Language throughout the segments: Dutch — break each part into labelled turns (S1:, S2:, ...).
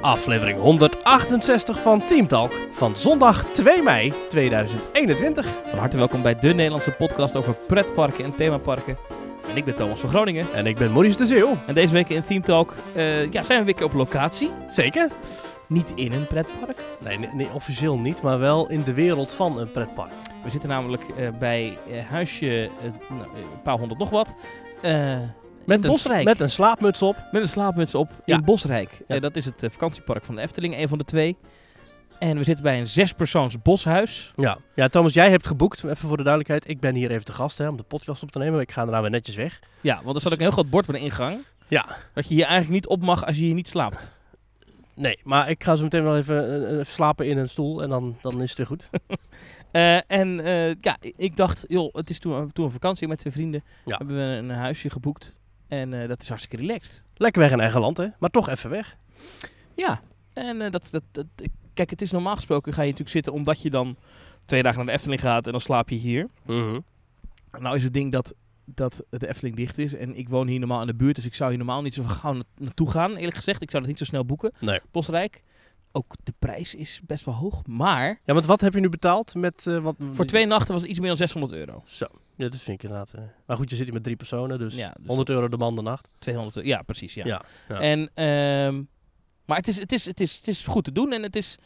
S1: Aflevering 168 van Team Talk van zondag 2 mei 2021.
S2: Van harte welkom bij de Nederlandse podcast over pretparken en themaparken. En ik ben Thomas van Groningen.
S1: En ik ben Maurice de Zeeuw.
S2: En deze week in Theme Talk eh, ja, zijn we weer een keer op locatie.
S1: Zeker?
S2: Niet in een pretpark.
S1: Nee, nee, nee, officieel niet, maar wel in de wereld van een pretpark.
S2: We zitten namelijk eh, bij eh, huisje eh, nou, eh, een paar honderd nog wat. eh,
S1: Met
S2: Bosrijk.
S1: Met een slaapmuts op.
S2: met een slaapmuts op
S1: Ja.
S2: in Bosrijk.
S1: Ja.
S2: Eh, dat is het eh, vakantiepark van de Efteling, een van de twee. En we zitten bij een zespersoons boshuis.
S1: Ja. ja, Thomas, jij hebt geboekt. Even voor de duidelijkheid, ik ben hier even te gast hè, om de podcast op te nemen. Ik ga daarna weer netjes weg.
S2: Ja, want er staat ook een heel groot bord met een ingang.
S1: Ja.
S2: Dat je hier eigenlijk niet op mag als je hier niet slaapt.
S1: Nee, maar ik ga zo meteen wel even eh, eh, even slapen in een stoel en dan, dan is het weer goed.
S2: Eh, en eh, ja, i- ik dacht, joh, het is toen, toen een vakantie met twee vrienden.
S1: Ja.
S2: Hebben we een huisje geboekt. En eh, dat is hartstikke relaxed.
S1: Lekker weg in eigen land, hè? Maar toch even weg.
S2: Ja. En eh, dat, dat, dat, kijk, het is normaal gesproken ga je natuurlijk zitten omdat je dan twee dagen naar de Efteling gaat en dan slaap je hier. Nou is het ding dat, dat de Efteling dicht is en ik woon hier normaal in de buurt, dus ik zou hier normaal niet zo gauw na- naartoe gaan. Eerlijk gezegd, ik zou dat niet zo snel boeken.
S1: Nee.
S2: Bosrijk. Ook de prijs is best wel hoog, maar
S1: Ja, want wat heb je nu betaald met... eh, wat...
S2: voor twee nachten was het iets meer dan 600 euro.
S1: Zo, ja, dat vind ik inderdaad... eh. Maar goed, je zit hier met drie personen, dus,
S2: Ja, dus-
S1: 100 euro de man de nacht.
S2: 200, ja precies, ja.
S1: Ja, ja.
S2: En, ehm, maar het is, het, is, het, is, het is goed te doen en het is...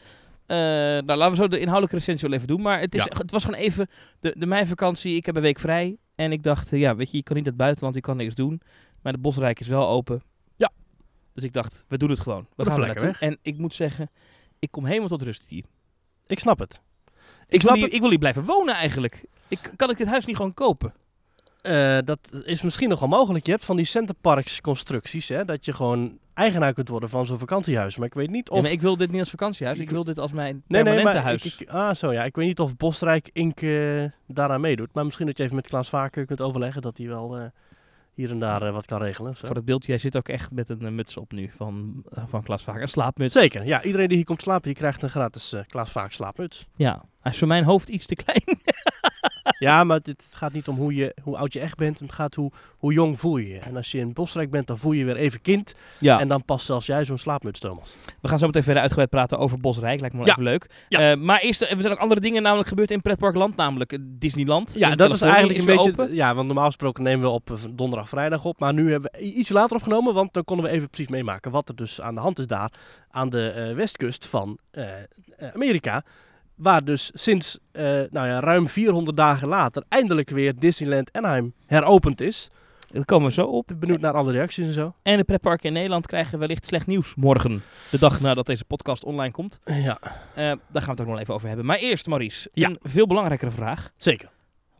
S2: eh, nou, laten we zo de inhoudelijke recensie wel even doen. Maar het, is,
S1: Ja.
S2: het was gewoon even de, de meivakantie. Ik heb een week vrij. En ik dacht, eh, ja, weet je, je kan niet naar het buitenland, je kan niks doen. Maar de Bosrijk is wel open.
S1: Ja.
S2: Dus ik dacht, we doen het gewoon. We
S1: Dan
S2: gaan er
S1: lekker
S2: naartoe. En ik moet zeggen, ik kom helemaal tot rust hier.
S1: Ik snap het. snap
S2: Ik, wil, hier,
S1: het.
S2: ik wil hier blijven wonen eigenlijk. Ik, kan ik dit huis niet gewoon kopen?
S1: Eh, dat is misschien nogal mogelijk. Je hebt van die centerparks constructies, hè, dat je gewoon eigenaar kunt worden van zo'n vakantiehuis. Maar ik weet niet
S2: Ja,
S1: of...
S2: maar ik wil dit niet als vakantiehuis.
S1: Ik-
S2: Ik wil dit als mijn permanente huis.
S1: Ik, ik- ah, zo ja. Ik weet niet of Bosrijk Inc. eh, daaraan meedoet. Maar misschien dat je even met Klaas Vaker kunt overleggen dat hij wel eh, hier en daar eh, wat kan regelen. of Zo.
S2: Voor het beeld, jij zit ook echt met een eh, muts op nu van, eh, van Klaas Vaak. Een slaapmuts.
S1: Zeker, ja. Iedereen die hier komt slapen, die krijgt een gratis eh, Klaas Vaak slaapmuts.
S2: Ja, hij is voor mijn hoofd iets te klein.
S1: ja, maar dit gaat niet om hoe, je, hoe oud je echt bent. Het gaat hoe, hoe jong voel je je. En als je in Bosrijk bent, dan voel je je weer even kind.
S2: Ja.
S1: En dan past zelfs jij zo'n slaapmuts, Thomas.
S2: we gaan zo meteen verder uitgebreid praten over Bosrijk. Lijkt me wel
S1: Ja.
S2: even leuk.
S1: Ja.
S2: Eh, maar eerst, eh, er zijn ook andere dingen namelijk gebeurd in Pretparkland. Namelijk eh, Disneyland.
S1: Ja,
S2: in
S1: dat was
S2: Californië
S1: eigenlijk een
S2: is weer
S1: beetje.
S2: open.
S1: Ja, want normaal gesproken nemen we op eh, donderdag, vrijdag op. Maar nu hebben we i- iets later opgenomen, want dan konden we even precies meemaken wat er dus aan de hand is daar aan de eh, westkust van eh, eh, Amerika. Waar dus sinds eh, nou ja, ruim 400 dagen later eindelijk weer Disneyland Anaheim heropend is.
S2: Daar komen we zo op.
S1: Ik ben Benieuwd naar alle reacties en zo.
S2: En de pretparken in Nederland krijgen wellicht slecht nieuws morgen. De dag nadat deze podcast online komt.
S1: Ja,
S2: Eh, daar gaan we het ook nog wel even over hebben. Maar eerst, Maurice.
S1: Ja.
S2: Een veel belangrijkere vraag.
S1: zeker.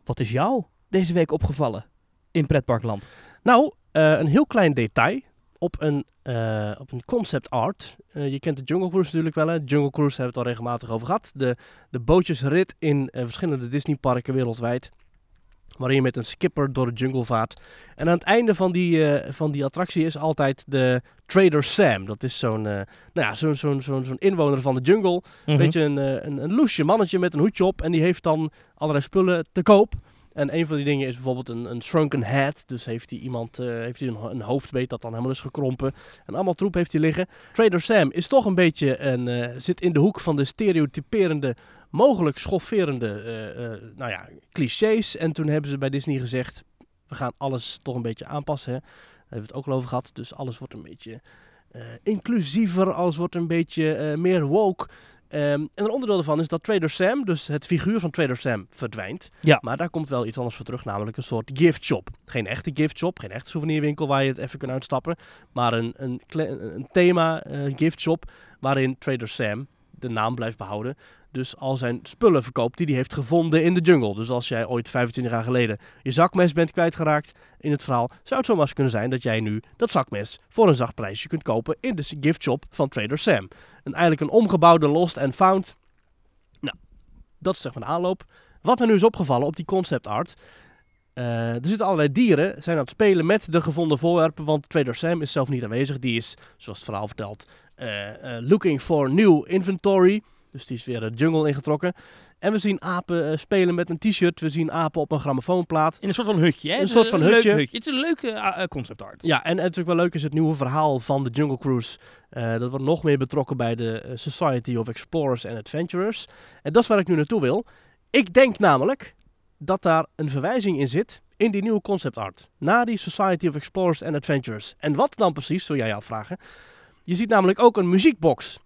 S2: Wat is jou deze week opgevallen in Pretparkland?
S1: Nou, eh, een heel klein detail op een, eh, op een concept art. Eh, je kent de Jungle Cruise natuurlijk wel. Hè? Jungle Cruise hebben we het al regelmatig over gehad. De, de bootjesrit in eh, verschillende Disneyparken wereldwijd. Waarin je met een skipper door de jungle vaart. En aan het einde van die, eh, van die attractie is altijd de Trader Sam. Dat is zo'n eh, nou ja, zo'n zo'n zo'n zo'n inwoner van de jungle.
S2: Mhm.
S1: Weet je, een, eh, een, een loesje mannetje met een hoedje op. En die heeft dan allerlei spullen te koop. En een van die dingen is bijvoorbeeld een, een shrunken head. Dus heeft hij iemand, eh, heeft hij een, ho- een hoofdbeet dat dan helemaal is gekrompen. En allemaal troep heeft hij liggen. Trader Sam is toch een beetje een, eh, zit in de hoek van de stereotyperende, mogelijk schofferende, eh, eh, nou ja, clichés. En toen hebben ze bij Disney gezegd, we gaan alles toch een beetje aanpassen. Hè? Daar hebben we het ook al over gehad. Dus alles wordt een beetje eh, inclusiever, alles wordt een beetje eh, meer woke. Ehm, en een onderdeel daarvan is dat Trader Sam, dus het figuur van Trader Sam, verdwijnt.
S2: Ja.
S1: Maar daar komt wel iets anders voor terug, namelijk een soort gift shop. Geen echte gift shop, geen echte souvenirwinkel waar je het even kunt uitstappen. Maar een, een, kle- een een thema eh, gift shop waarin Trader Sam de naam blijft behouden. Dus al zijn spullen verkoopt die hij heeft gevonden in de jungle. Dus als jij ooit 25 jaar geleden je zakmes bent kwijtgeraakt in het verhaal, zou het zomaar eens kunnen zijn dat jij nu dat zakmes voor een zacht prijsje kunt kopen in de gift shop van Trader Sam. En eigenlijk een omgebouwde Lost and Found. Nou, dat is zeg maar de aanloop. Wat me nu is opgevallen op die concept art. eh, er zitten allerlei dieren, zijn aan het spelen met de gevonden voorwerpen, want Trader Sam is zelf niet aanwezig. Die is, zoals het verhaal vertelt, eh, eh, looking for new inventory. Dus die is weer de jungle ingetrokken. En we zien apen eh, spelen met een t-shirt. We zien apen op een grammofoonplaat.
S2: In een soort van hutje, hè?
S1: Een
S2: Het is
S1: soort van
S2: leuk
S1: hutje.
S2: Het is een leuke eh, eh, concept art.
S1: Ja, en natuurlijk wel leuk is het nieuwe verhaal van de Jungle Cruise. Eh, dat wordt nog meer betrokken bij de eh, Society of Explorers and Adventurers. En dat is waar ik nu naartoe wil. Ik denk namelijk dat daar een verwijzing in zit in die nieuwe concept art. Na die Society of Explorers and Adventurers. En wat dan precies, zul jij je afvragen. Je ziet namelijk ook een muziekbox.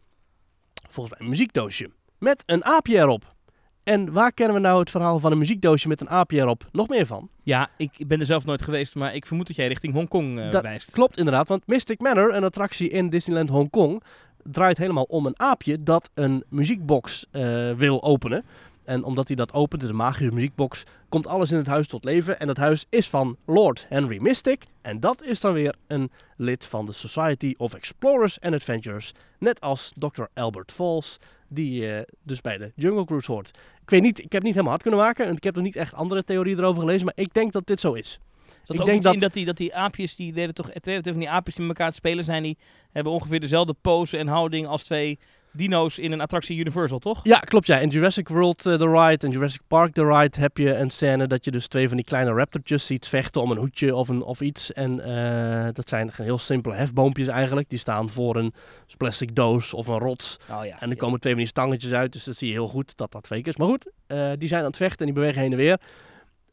S1: Volgens mij een muziekdoosje. Met een aapje erop. En waar kennen we nou het verhaal van een muziekdoosje met een aapje erop nog meer van?
S2: Ja, ik ben er zelf nooit geweest, maar ik vermoed dat jij richting Hongkong eh
S1: Dat
S2: wijst.
S1: Klopt inderdaad, want Mystic Manor, een attractie in Disneyland Hongkong, draait helemaal om een aapje dat een muziekbox eh, wil openen. En omdat hij dat opent, de magische muziekbox, komt alles in het huis tot leven. En dat huis is van Lord Henry Mystic. En dat is dan weer een lid van de Society of Explorers and Adventurers. Net als Dr. Albert Falls, die eh, dus bij de Jungle Cruise hoort. Ik weet niet, ik heb het niet helemaal hard kunnen maken. En ik heb nog niet echt andere theorieën erover gelezen. Maar ik denk dat dit zo is.
S2: Dat
S1: ik
S2: ook
S1: denk
S2: iets
S1: dat-
S2: in dat die, dat die aapjes, die deden toch, eh, twee, twee van die aapjes die met elkaar aan het spelen zijn, die hebben ongeveer dezelfde pose en houding als twee dino's in een attractie Universal, toch?
S1: Ja, klopt. Ja. In Jurassic World eh, The Ride en Jurassic Park The Ride heb je een scène dat je dus twee van die kleine raptortjes ziet vechten om een hoedje of, een, of iets. En eh, dat zijn heel simpele hefboompjes eigenlijk. Die staan voor een plastic doos of een rots.
S2: Oh ja.
S1: En er komen twee van die stangetjes uit, dus dat zie je heel goed dat dat fake is. Maar goed, eh, die zijn aan het vechten en die bewegen heen en weer.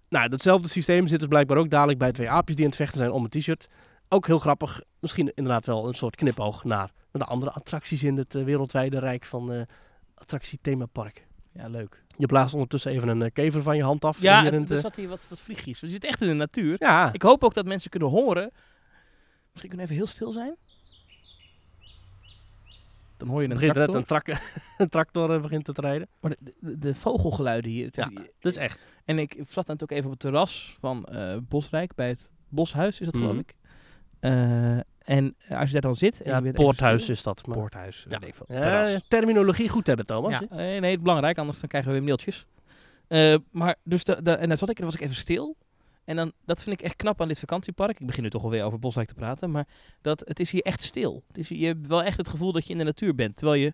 S1: Nou, datzelfde systeem zit dus blijkbaar ook dadelijk bij twee aapjes die aan het vechten zijn om een t-shirt. Ook heel grappig. Misschien inderdaad wel een soort knipoog naar, naar de andere attracties in het eh, wereldwijde rijk van eh attractiethemapark.
S2: Ja, leuk.
S1: Je blaast ondertussen even een eh, kever van je hand af.
S2: Ja,
S1: hier in
S2: het-
S1: het,
S2: er
S1: eh,
S2: zat hier wat, wat vliegjes. We zitten echt in de natuur.
S1: ja.
S2: Ik hoop ook dat mensen kunnen horen. Misschien kunnen we even heel stil zijn. Dan hoor je een
S1: begint er net
S2: tractor.
S1: een, trak- een tractor eh, begint te rijden.
S2: Maar de, de, de vogelgeluiden hier. Het is-
S1: Dat is echt.
S2: En ik zat net ook even op het terras van eh, Bosrijk, bij het Boshuis is dat
S1: Mhm.
S2: geloof ik. Eh, en als je daar dan zit... en
S1: Ja, het
S2: je bent even
S1: poorthuis
S2: stil-
S1: is dat. Maar.
S2: Poorthuis,
S1: Ja.
S2: weet ik veel.
S1: Eh,
S2: Terras.
S1: terminologie goed hebben, Thomas.
S2: Ja,
S1: hè?
S2: eh, nee, het is belangrijk, anders dan krijgen we weer mailtjes. Eh, maar dus da- da- en daar zat ik en dan was ik even stil. En dan, dat vind ik echt knap aan dit vakantiepark. Ik begin nu toch alweer over Bosrijk te praten. Maar dat, het is hier echt stil. Het is hier, je hebt wel echt het gevoel dat je in de natuur bent. Terwijl je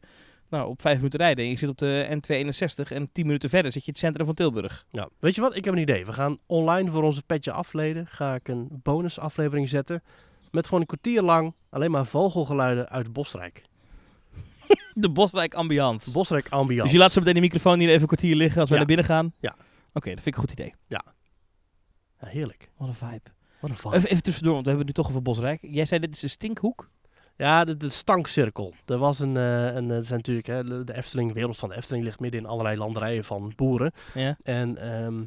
S2: nou, op vijf minuten rijden. en Je zit op de N261 en tien minuten verder zit je in het centrum van Tilburg.
S1: Ja. Weet je wat? Ik heb een idee. We gaan online voor onze petje afleden. Ga ik een bonusaflevering zetten. Met gewoon een kwartier lang alleen maar vogelgeluiden uit Bosrijk.
S2: De Bosrijk ambiance.
S1: Bosrijk ambiance.
S2: dus je laat zo meteen de microfoon hier even een kwartier liggen als we
S1: Ja.
S2: naar binnen gaan.
S1: Ja.
S2: Oké, dat vind ik een goed idee.
S1: Ja, heerlijk.
S2: Wat een vibe.
S1: Wat een vibe.
S2: Even, even tussendoor, want we hebben het nu toch over Bosrijk. Jij zei dit is een stinkhoek.
S1: Ja, de, de stankcirkel. Er was een, eh, een eh, er zijn natuurlijk, hè, de- de Efteling, de wereld van de Efteling ligt midden in allerlei landerijen van boeren.
S2: Ja.
S1: En ehm,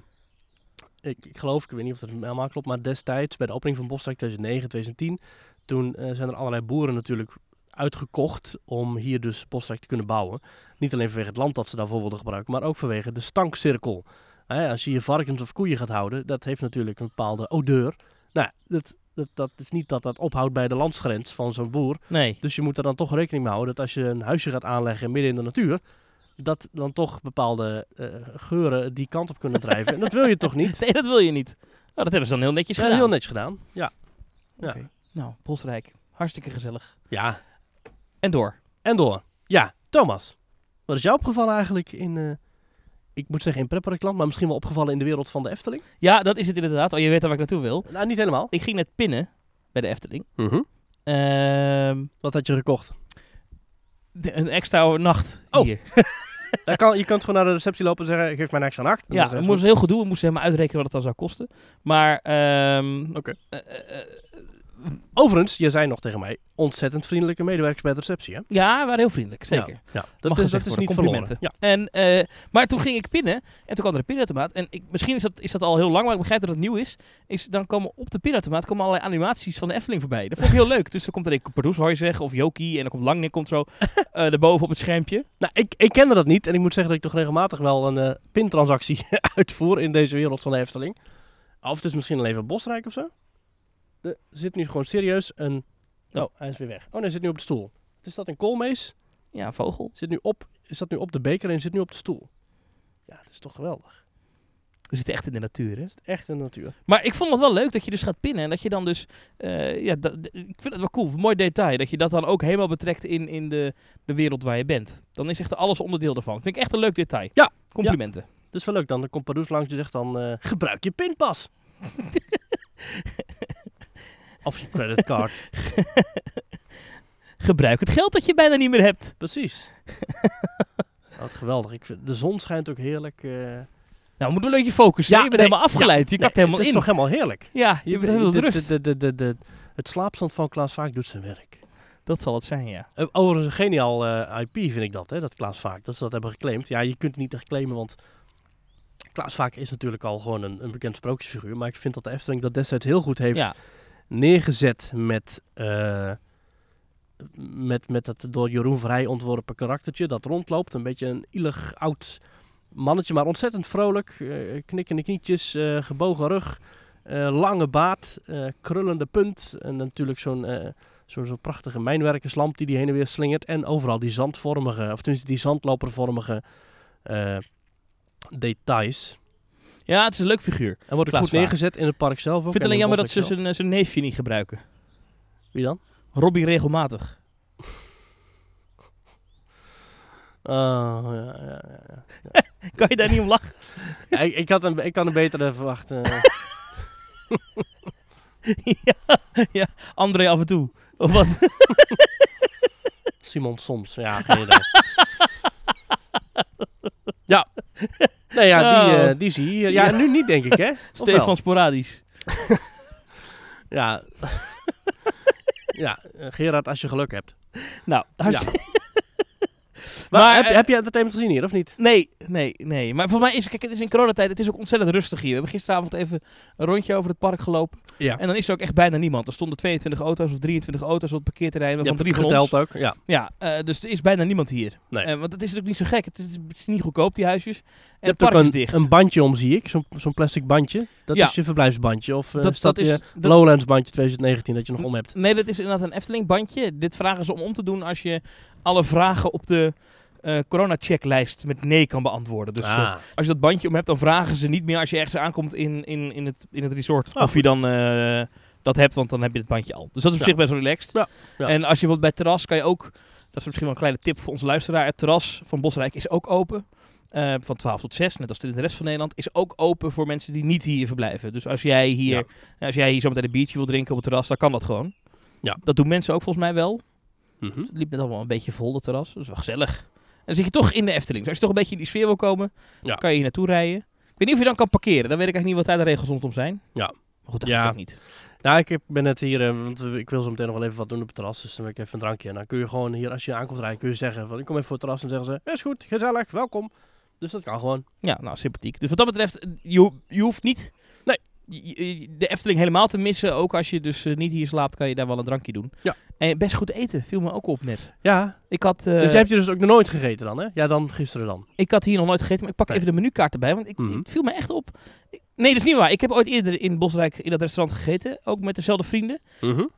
S1: ik, ik geloof, ik weet niet of dat helemaal klopt, maar destijds bij de opening van Bosrijk 2009, 2010, toen eh, zijn er allerlei boeren natuurlijk uitgekocht om hier dus Bosrijk te kunnen bouwen. Niet alleen vanwege het land dat ze daarvoor wilden gebruiken, maar ook vanwege de stankcirkel. Hè, als je je varkens of koeien gaat houden, dat heeft natuurlijk een bepaalde odeur. Nou, dat, dat, dat is niet dat dat ophoudt bij de landsgrens van zo'n boer.
S2: Nee.
S1: Dus je moet er dan toch rekening mee houden dat als je een huisje gaat aanleggen midden in de natuur, dat dan toch bepaalde eh, geuren die kant op kunnen drijven. en dat wil je toch niet?
S2: Nee, dat wil je niet. Nou, dat hebben ze dan heel netjes
S1: Ja,
S2: gedaan.
S1: heel netjes gedaan. Ja. Ja.
S2: Oké. Nou, Bosrijk. Hartstikke gezellig.
S1: ja.
S2: En door.
S1: En door. Ja, Thomas. Wat is jou opgevallen eigenlijk in, eh, ik moet zeggen in pretparkland, maar misschien wel opgevallen in de wereld van de Efteling?
S2: Ja, dat is het inderdaad. Oh, je weet al waar ik naartoe wil.
S1: Nou, niet helemaal.
S2: Ik ging net pinnen bij de Efteling. Ehm,
S1: Wat had je gekocht?
S2: de- een extra nacht
S1: Oh,
S2: hier.
S1: Daar kan, je kunt gewoon naar de receptie lopen en zeggen, geef mij een extra nacht. En
S2: Ja,
S1: dan
S2: we
S1: zeggen ze,
S2: moesten heel goed doen. We moesten helemaal uitrekenen wat het dan zou kosten. Maar, ehm
S1: Oké.
S2: eh, eh, eh,
S1: Overigens, je zei nog tegen mij, ontzettend vriendelijke medewerkers bij de receptie, hè?
S2: ja, we waren heel vriendelijk, zeker.
S1: Ja, ja. dat, is,
S2: gezegd
S1: dat is
S2: worden.
S1: niet
S2: Complimenten.
S1: verloren. Ja.
S2: En, eh, maar toen ging ik pinnen en toen kwam er een pinautomaat. En ik, misschien is dat, is dat al heel lang, maar ik begrijp dat het nieuw is. is dan komen op de pinautomaat komen allerlei animaties van de Efteling voorbij. Dat vond ik heel leuk. Dus dan komt er een Pardoes, hoor je zeggen, of Jokie. En dan komt Langnek komt zo eh daarboven op het schermpje.
S1: Nou, ik, ik kende dat niet en ik moet zeggen dat ik toch regelmatig wel een eh, pintransactie uitvoer in deze wereld van de Efteling. Of het is misschien alleen van Bosrijk of zo. Er zit nu gewoon serieus een... Oh, hij is weer weg. Oh nee, hij zit nu op de stoel. Wat Is dat een koolmees?
S2: Ja, een vogel.
S1: Zit nu op, is dat nu op de beker en zit nu op de stoel? Ja, dat is toch geweldig.
S2: We zitten echt in de natuur, hè?
S1: Echt een natuur.
S2: Maar ik vond het wel leuk dat je dus gaat pinnen. En dat je dan dus... eh, ja, dat- ik vind het wel cool. Mooi detail. Dat je dat dan ook helemaal betrekt in, in de, de wereld waar je bent. Dan is echt alles onderdeel daarvan. Vind ik echt een leuk detail.
S1: Ja.
S2: Complimenten.
S1: Dus wel leuk dan. Dan komt Pardoes langs en zegt dan... eh, gebruik je pinpas. of je creditcard.
S2: Gebruik het geld dat je bijna niet meer hebt.
S1: Precies. Wat geweldig. Ik vind, de zon schijnt ook heerlijk. eh.
S2: Nou, we moeten een beetje focussen.
S1: Ja,
S2: hè? je bent
S1: nee,
S2: helemaal afgeleid. je
S1: Nee,
S2: kakt helemaal
S1: Het
S2: in.
S1: is toch helemaal heerlijk?
S2: Ja, je bent helemaal
S1: de-
S2: tot rust.
S1: de- de- de- de- het slaapstand van Klaas Vaak doet zijn werk.
S2: Dat zal het zijn, ja.
S1: Eh, Overigens een geniaal eh, IP vind ik dat, hè, dat Klaas Vaak. Dat ze dat hebben geclaimd. Ja, je kunt het niet echt claimen, want Klaas Vaak is natuurlijk al gewoon een, een bekend sprookjesfiguur. Maar ik vind dat de Efteling dat destijds heel goed heeft
S2: ja.
S1: neergezet met, eh, met, met dat door Jeroen Vrij ontworpen karaktertje dat rondloopt. Een beetje een ielig oud mannetje, maar ontzettend vrolijk. eh knikkende knietjes, eh, gebogen rug, eh, lange baard, eh, krullende punt. En natuurlijk zo'n eh, zo'n zo'n prachtige mijnwerkerslamp die die heen en weer slingert. En overal die zandvormige, of tenminste die zandlopervormige eh, details.
S2: ja, het is een leuk figuur.
S1: En wordt ook
S2: Klaas
S1: goed
S2: Vaak.
S1: neergezet in het park zelf ook.
S2: Ik vind
S1: en
S2: het alleen
S1: in
S2: jammer
S1: het
S2: dat ze
S1: boswerk
S2: zijn, eh, zijn neefje niet gebruiken.
S1: zelf. Wie dan?
S2: Robbie regelmatig.
S1: Oh, ja, ja, ja, ja.
S2: Kan je daar niet om lachen?
S1: Ja, ik, ik, had een, ik had een betere eh, verwachten.
S2: ja, ja, André af en toe. Of wat?
S1: Simon soms. Ja, geen idee. ja. Nee, ja, die,
S2: Oh.
S1: eh, die zie je. hier. Ja,
S2: Ja.
S1: nu niet, denk ik, hè? Of wel?
S2: Stefan Sporadisch.
S1: Ja. ja, eh, Gerard, als je geluk hebt.
S2: Nou, hartstikke...
S1: Maar,
S2: Maar,
S1: heb,
S2: eh,
S1: heb je entertainment gezien hier, of niet?
S2: Nee, nee, nee. Maar voor mij is, kijk, het is in coronatijd, het is ook ontzettend rustig hier. We hebben gisteravond even een rondje over het park gelopen.
S1: Ja.
S2: En dan is er ook echt bijna niemand. Er stonden 22 auto's of 23 auto's op het parkeerterrein.
S1: Je
S2: Van
S1: hebt
S2: drie van ons.
S1: geteld ook. Ja.
S2: Ja, eh, dus er is bijna niemand hier.
S1: Nee.
S2: Eh, want het is natuurlijk niet zo gek. Het is, het is niet goedkoop, die huisjes. En
S1: Je
S2: het
S1: hebt
S2: park
S1: ook
S2: is
S1: een,
S2: dicht.
S1: een bandje om, zie ik. Zo'n zo'n plastic bandje. Dat
S2: Ja.
S1: is je verblijfsbandje. Of eh
S2: Dat-
S1: staat
S2: dat is-
S1: je
S2: dat-
S1: Lowlands bandje 2019 dat je nog om hebt.
S2: Nee, dat is inderdaad een Efteling-bandje. Dit vragen ze om om te doen als je alle vragen op de eh corona-checklijst met nee kan beantwoorden. Dus eh,
S1: Ah.
S2: als je dat bandje om hebt, dan vragen ze niet meer als je ergens aankomt in, in, in, het, in het resort.
S1: Ah,
S2: of je
S1: goed.
S2: dan eh, dat hebt, want dan heb je het bandje al. Dus dat is op
S1: Ja.
S2: zich best wel relaxed.
S1: Ja, ja.
S2: En als je wat bij het terras kan je ook, dat is misschien wel een kleine tip voor onze luisteraar. Het terras van Bosrijk is ook open. eh, van 12 tot 6, net als het in de rest van Nederland, is ook open voor mensen die niet hier verblijven. Dus als jij hier,
S1: Ja.
S2: nou, als jij hier zometeen een biertje wil drinken op het terras, dan kan dat gewoon.
S1: Ja.
S2: Dat doen mensen ook volgens mij wel.
S1: Mhm.
S2: Het liep net allemaal een beetje vol, dat terras. Dat is wel gezellig. En dan zit je toch in de Efteling. Dus als je toch een beetje in die sfeer wil komen,
S1: Ja.
S2: kan je hier naartoe rijden. Ik weet niet of je dan kan parkeren. Dan weet ik eigenlijk niet wat daar de regels rondom zijn.
S1: Ja.
S2: Maar goed, dat
S1: Ja.
S2: gaat ook niet.
S1: Nou, ik heb- ben net hier, eh, want we- ik wil zo meteen nog wel even wat doen op het terras. Dus dan wil ik even een drankje. En dan kun je gewoon hier, als je aankomt rijden, kun je zeggen van ik kom even voor het terras. En dan zeggen ze, is goed, gezellig, welkom. Dus dat kan gewoon.
S2: Ja, nou, sympathiek. Dus wat dat betreft, eh, je, ho- je hoeft niet
S1: Nee.
S2: je- je- de Efteling helemaal te missen. Ook als je dus eh, niet hier slaapt, kan je daar wel een drankje doen.
S1: Ja.
S2: En best goed eten, viel me ook op net.
S1: Ja,
S2: Ik had, eh,
S1: dus jij hebt je dus ook nog nooit gegeten dan, hè? Ja, dan gisteren dan.
S2: ik had hier nog nooit gegeten, maar ik pak
S1: Nee.
S2: even de menukaart erbij, want ik,
S1: Mhm.
S2: het viel me echt op. Ik- Nee, dat is niet waar. Ik heb ooit eerder in Bosrijk in dat restaurant gegeten, ook met dezelfde vrienden.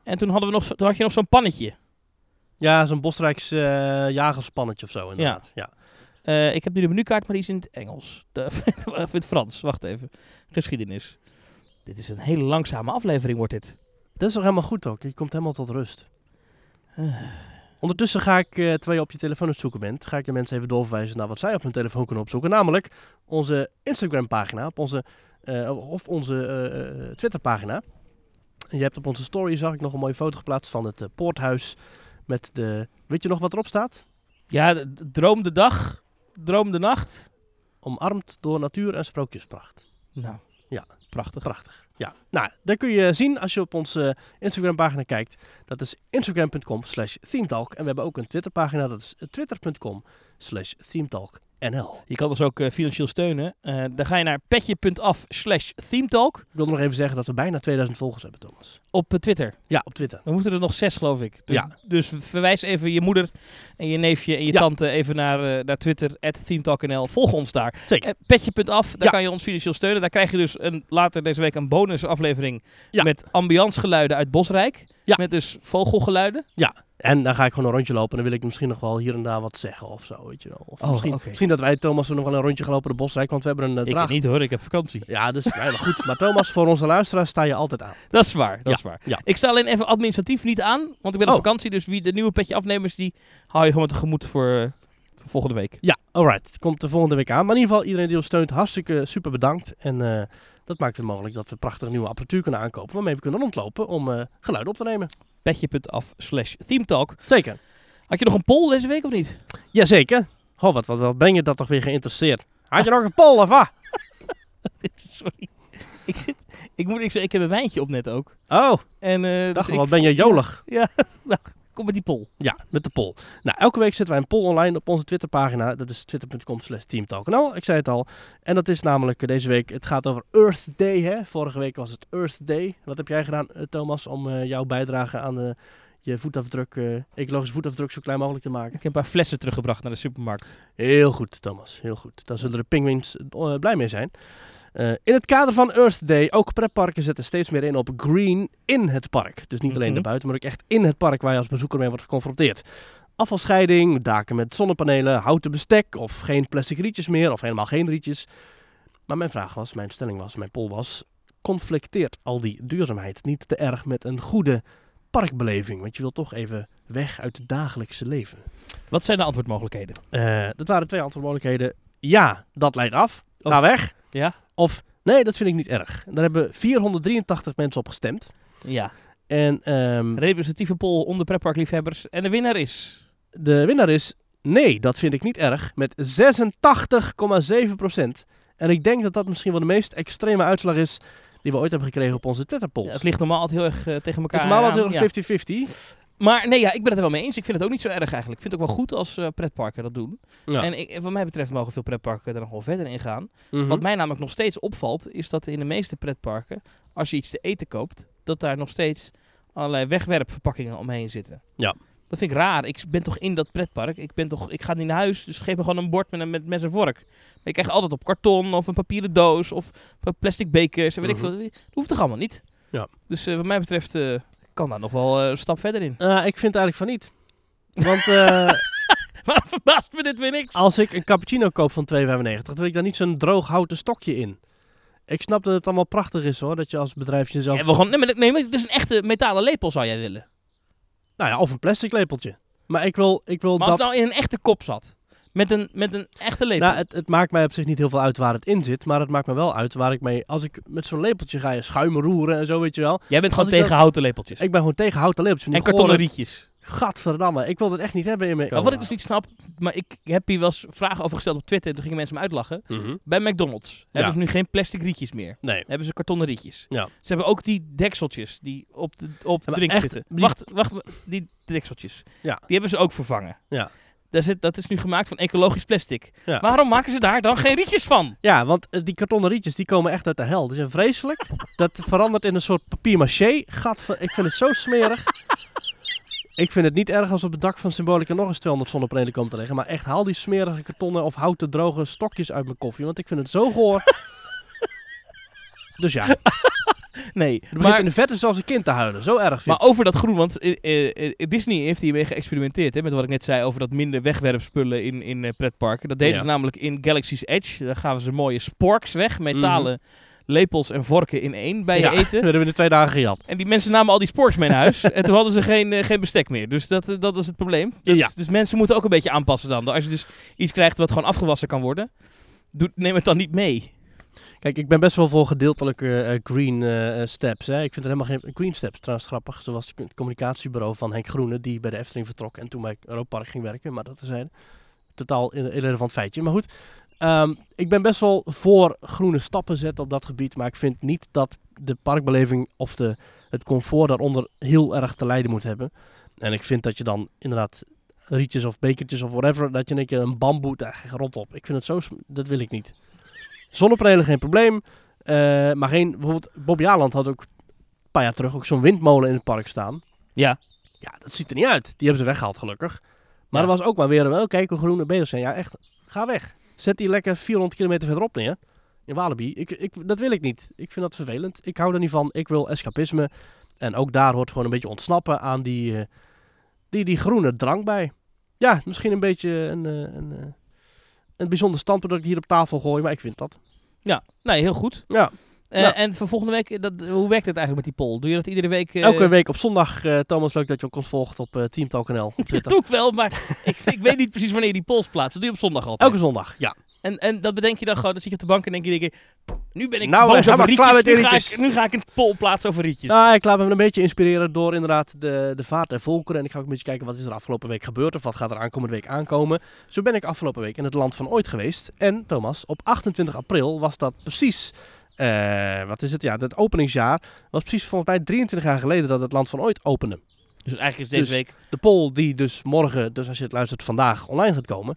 S2: En toen, hadden we nog, zo- toen had je nog zo'n pannetje.
S1: Ja, zo'n Bosrijks eh jagerspannetje of zo inderdaad. Ja.
S2: Eh, ik heb nu de menukaart, maar die is in het Engels. De, of in het Frans. Wacht even. Geschiedenis. Dit is een hele langzame aflevering, wordt dit.
S1: Dat is toch helemaal goed ook? Je komt helemaal tot rust.
S2: Eh.
S1: Ondertussen ga ik, eh, terwijl je op je telefoon aan het zoeken bent, ga ik de mensen even doorverwijzen naar wat zij op hun telefoon kunnen opzoeken. Namelijk onze Instagram pagina op onze, eh, of onze eh, eh, Twitter pagina. En Je hebt op onze story, zag ik nog een mooie foto geplaatst van het eh, poorthuis met de... Weet je nog wat erop staat?
S2: Ja, d- d- droom de dag. Droom de nacht.
S1: Omarmd door natuur en sprookjespracht.
S2: Nou,
S1: Ja.
S2: Prachtig.
S1: Prachtig. Ja, nou, dat kun je zien als je op onze Instagram-pagina kijkt. Dat is instagram.com slash themetalk. En we hebben ook een Twitter-pagina, dat is twitter.com slash themetalknl.
S2: Je kan ons ook eh, financieel steunen. Eh, dan ga je naar petje.af slash themetalk
S1: Ik wil nog even zeggen dat we bijna 2000 volgers hebben, Thomas.
S2: op eh, Twitter.
S1: Ja, op Twitter.
S2: We moeten er nog zes, geloof ik. Dus,
S1: Ja.
S2: dus verwijs even je moeder en je neefje en je
S1: Ja.
S2: tante even naar, eh, naar Twitter, at themetalk.nl. Volg ons daar.
S1: Zeker.
S2: Eh, Petje.af, daar
S1: Ja.
S2: kan je ons financieel steunen. Daar krijg je dus een, later deze week een bonusaflevering
S1: Ja.
S2: met ambiancegeluiden uit Bosrijk.
S1: Ja.
S2: Met dus vogelgeluiden.
S1: Ja. En dan ga ik gewoon een rondje lopen en dan wil ik misschien nog wel hier en daar wat zeggen of zo, weet je wel. Of
S2: Oh,
S1: misschien,
S2: oké.
S1: misschien dat wij, Thomas, nog wel een rondje gaan lopen de bosrijk, want we hebben een eh,
S3: Ik
S1: draag.
S3: niet hoor, ik heb vakantie.
S1: Ja, dus ja, maar goed. Maar Thomas, voor onze luisteraars sta je altijd aan.
S2: Dat is waar, dat
S1: Ja,
S2: is waar.
S1: ja.
S2: Ik sta alleen even administratief niet aan, want ik ben
S1: Oh.
S2: op vakantie. Dus wie de nieuwe petje afnemers, die hou je gewoon tegemoet voor, eh, voor volgende week.
S1: Ja, alright. Het komt de volgende week aan. Maar in ieder geval, iedereen die ons steunt, hartstikke super bedankt. En eh, dat maakt het mogelijk dat we prachtig nieuwe apparatuur kunnen aankopen, waarmee we kunnen rondlopen om eh geluiden op te nemen.
S2: Petje.af slash themetalk.
S1: Zeker.
S2: Had je nog een poll deze week of niet?
S1: Jazeker. Goh, wat, wat, wat ben je dat toch weer geïnteresseerd? Had je nog een poll of wat?
S2: Sorry. Ik, zit, ik moet ik zeggen, ik heb een wijntje op net ook.
S1: Oh,
S2: En, eh,
S1: dacht
S2: dus
S1: wel, wat
S2: ik-
S1: ben je jolig.
S2: Ja, nou, kom met die poll.
S1: Ja, met de poll. Nou, elke week zetten wij een poll online op onze Twitterpagina. Dat is twitter.com slash teamtalk. Nou, ik zei het al. En dat is namelijk eh, deze week, het gaat over Earth Day. Hè? Vorige week was het Earth Day. Wat heb jij gedaan, eh, Thomas, om eh, jouw bijdrage aan eh, je voetafdruk, eh ecologisch voetafdruk zo klein mogelijk te maken?
S2: Ik heb een paar flessen teruggebracht naar de supermarkt.
S1: Heel goed, Thomas. Heel goed. Daar zullen de penguins eh, blij mee zijn. Eh, in het kader van Earth Day, ook pretparken zetten steeds meer in op green in het park. Dus niet alleen
S2: Mhm.
S1: daarbuiten, maar ook echt in het park waar je als bezoeker mee wordt geconfronteerd. Afvalscheiding, daken met zonnepanelen, houten bestek of geen plastic rietjes meer of helemaal geen rietjes. Maar mijn vraag was, mijn stelling was, mijn poll was, conflicteert al die duurzaamheid niet te erg met een goede parkbeleving? Want je wilt toch even weg uit het dagelijkse leven.
S2: Wat zijn de antwoordmogelijkheden?
S1: Eh, dat waren twee antwoordmogelijkheden. Ja, dat leidt af.
S2: Of-
S1: Ga weg.
S2: Ja.
S1: Of nee, dat vind ik niet erg. En Daar hebben 483 mensen op gestemd.
S2: Ja.
S1: En ehm,
S2: Representatieve poll onder pretparkliefhebbers. En de winnaar is...
S1: de winnaar is nee, dat vind ik niet erg. Met 86,7 En ik denk dat dat misschien wel de meest extreme uitslag is die we ooit hebben gekregen op onze Twitter-polls.
S2: Ja, het ligt normaal altijd heel erg eh, tegen
S1: het
S2: elkaar
S1: is normaal
S2: aan.
S1: altijd heel
S2: Ja.
S1: erg 50-50.
S2: Maar nee, ja, ik ben het er wel mee eens. Ik vind het ook niet zo erg eigenlijk. Ik vind het ook wel goed als eh, pretparken dat doen.
S1: Ja.
S2: En ik, wat mij betreft mogen veel pretparken er nog wel verder in gaan.
S1: Mhm.
S2: Wat mij namelijk nog steeds opvalt, is dat in de meeste pretparken, als je iets te eten koopt, dat daar nog steeds allerlei wegwerpverpakkingen omheen zitten.
S1: Ja.
S2: Dat vind ik raar. Ik ben toch in dat pretpark. Ik, ben toch, ik ga niet naar huis, dus geef me gewoon een bord met, een, met mes en vork. Maar ik krijg altijd op karton of een papieren doos of plastic bekers en weet
S1: Mhm.
S2: ik veel. Dat hoeft toch allemaal niet?
S1: Ja.
S2: Dus eh, wat mij betreft eh, kan daar nog wel eh, een stap verder in.
S1: Eh, ik vind het eigenlijk van niet. Want eh,
S2: Maar verbaast me dit weer niks.
S1: Als ik een cappuccino koop van 2,95, dan wil ik daar niet zo'n droog houten stokje in. Ik snap dat het allemaal prachtig is hoor, dat je als bedrijf jezelf...
S2: Ja, we gewoon, nee, maar, nee, maar het is een echte metalen lepel zou jij willen.
S1: Nou ja, of een plastic lepeltje. Maar ik wil, ik wil
S2: Maar
S1: dat...
S2: als het nou in een echte kop zat. Met een, met een echte lepel.
S1: Nou, het, het maakt mij op zich niet heel veel uit waar het in zit, maar het maakt me wel uit waar ik mee... Als ik met zo'n lepeltje ga je schuimen roeren en zo, weet je wel.
S2: Jij bent gewoon
S1: als ik
S2: tegen houten lepeltjes.
S1: Ik ben gewoon tegen houten lepeltjes. van
S2: en
S1: die
S2: kartonnen
S1: gore-
S2: rietjes.
S1: Gadverdamme, ik wil dat echt niet hebben in mijn...
S2: Maar wat ik dus niet snap, maar ik heb hier wel eens vragen over gesteld op Twitter. En toen gingen mensen me uitlachen.
S1: Mhm.
S2: Bij McDonald's hebben ze nu geen plastic rietjes meer.
S1: Nee.
S2: Hebben ze kartonnen rietjes.
S1: Ja.
S2: Ze hebben ook die dekseltjes die op de op
S1: maar
S2: drink
S1: echt,
S2: zitten.
S1: die-
S2: Wacht, wacht. Die dekseltjes.
S1: Ja.
S2: Die hebben ze ook vervangen.
S1: Ja.
S2: Daar zit, dat is nu gemaakt van ecologisch plastic.
S1: Ja.
S2: Waarom maken ze daar dan geen rietjes van?
S1: Ja, want eh, die kartonnen rietjes die komen echt uit de hel. Die zijn vreselijk. Dat verandert in een soort papier-maché. Gadver- ik vind het zo smerig. Ik vind het niet erg als op het dak van Symbolica nog eens 200 zonnepanelen komen te liggen. Maar echt, haal die smerige kartonnen of houten droge stokjes uit mijn koffie. Want ik vind het zo goor. Dus ja, het
S2: Nee,
S1: begint
S2: maar,
S1: in de verte zelfs een kind te huilen. Zo erg vind
S2: maar
S1: ik.
S2: over dat groen, want eh, eh, eh, Disney heeft hiermee geëxperimenteerd. Hè, met wat ik net zei over dat minder wegwerpspullen in, in eh, pretparken. Dat deden
S1: Ja.
S2: ze namelijk in Galaxy's Edge. Daar gaven ze mooie sporks weg, metalen lepels en vorken in één bij
S1: Mhm. Ja.
S2: je
S1: We
S2: eten.
S1: hebben in de twee dagen gejat.
S2: En die mensen namen al die sporks mee naar huis. en toen hadden ze geen, eh, geen bestek meer. Dus dat, eh, dat is het probleem. Dat
S1: Ja.
S2: is- dus mensen moeten ook een beetje aanpassen dan. Als je dus iets krijgt wat gewoon afgewassen kan worden, doe, neem het dan niet mee.
S1: Kijk, ik ben best wel voor gedeeltelijke eh, green eh, eh, steps. Hè. Ik vind er helemaal geen green steps trouwens grappig. Zoals het communicatiebureau van Henk Groene, die bij de Efteling vertrok en toen bij Europark ging werken. Maar dat is een totaal irre- irrelevant feitje. Maar goed, ehm, ik ben best wel voor groene stappen zetten op dat gebied. Maar ik vind niet dat de parkbeleving of de, het comfort daaronder heel erg te lijden moet hebben. En ik vind dat je dan inderdaad rietjes of bekertjes of whatever, dat je een keer een bamboe, daar rot op. Ik vind het zo, sm- dat wil ik niet. Zonnepanelen geen probleem. Eh, maar geen, bijvoorbeeld Bob Jaland had ook een paar jaar terug ook zo'n windmolen in het park staan.
S2: Ja.
S1: Ja, dat ziet er niet uit. Die hebben ze weggehaald gelukkig. Maar
S2: Ja.
S1: er was ook maar weer, een, oh, kijk hoe groen er bezig zijn. Ja, echt, ga weg. Zet die lekker 400 kilometer verderop neer. In Walibi. Ik, ik, dat wil ik niet. Ik vind dat vervelend. Ik hou er niet van. Ik wil escapisme. En ook daar hoort gewoon een beetje ontsnappen aan die... eh, die, die groene drank bij. Ja, misschien een beetje een, eh, een, eh, een bijzonder standpunt dat ik hier op tafel gooi, maar ik vind dat.
S2: Ja, nee, heel goed.
S1: Ja.
S2: Eh,
S1: Nou.
S2: En voor volgende week, dat, hoe werkt het eigenlijk met die poll? Doe je dat iedere week? eh,
S1: Elke week op zondag, eh, Thomas, leuk dat je ook ons volgt op eh teamtalk.nl op
S2: Dat
S1: Twitter.
S2: doe ik wel, maar ik, ik weet niet precies wanneer die polls plaatsen. Dat doe je op zondag altijd.
S1: Elke zondag, ja.
S2: En, en dat bedenk je dan gewoon, dan zit je op de bank en denk je, denk je, nu ben ik
S1: Nou,
S2: boos
S1: we zijn
S2: over
S1: maar
S2: rietjes,
S1: klaar met
S2: nu,
S1: die
S2: ga ik,
S1: rietjes.
S2: nu ga ik een poll plaatsen over rietjes.
S1: Nou, ik laat me een beetje inspireren door inderdaad de, de vaart der volkeren. En ik ga ook een beetje kijken wat is er afgelopen week gebeurd of wat gaat er aankomende week aankomen. Zo ben ik afgelopen week in het land van ooit geweest. En Thomas, op 28 april was dat precies, eh, wat is het, ja, het openingsjaar. was precies volgens mij 23 jaar geleden dat het land van ooit opende.
S2: dus eigenlijk is deze
S1: dus-
S2: week,
S1: De poll die dus morgen, dus als je het luistert vandaag, online gaat komen,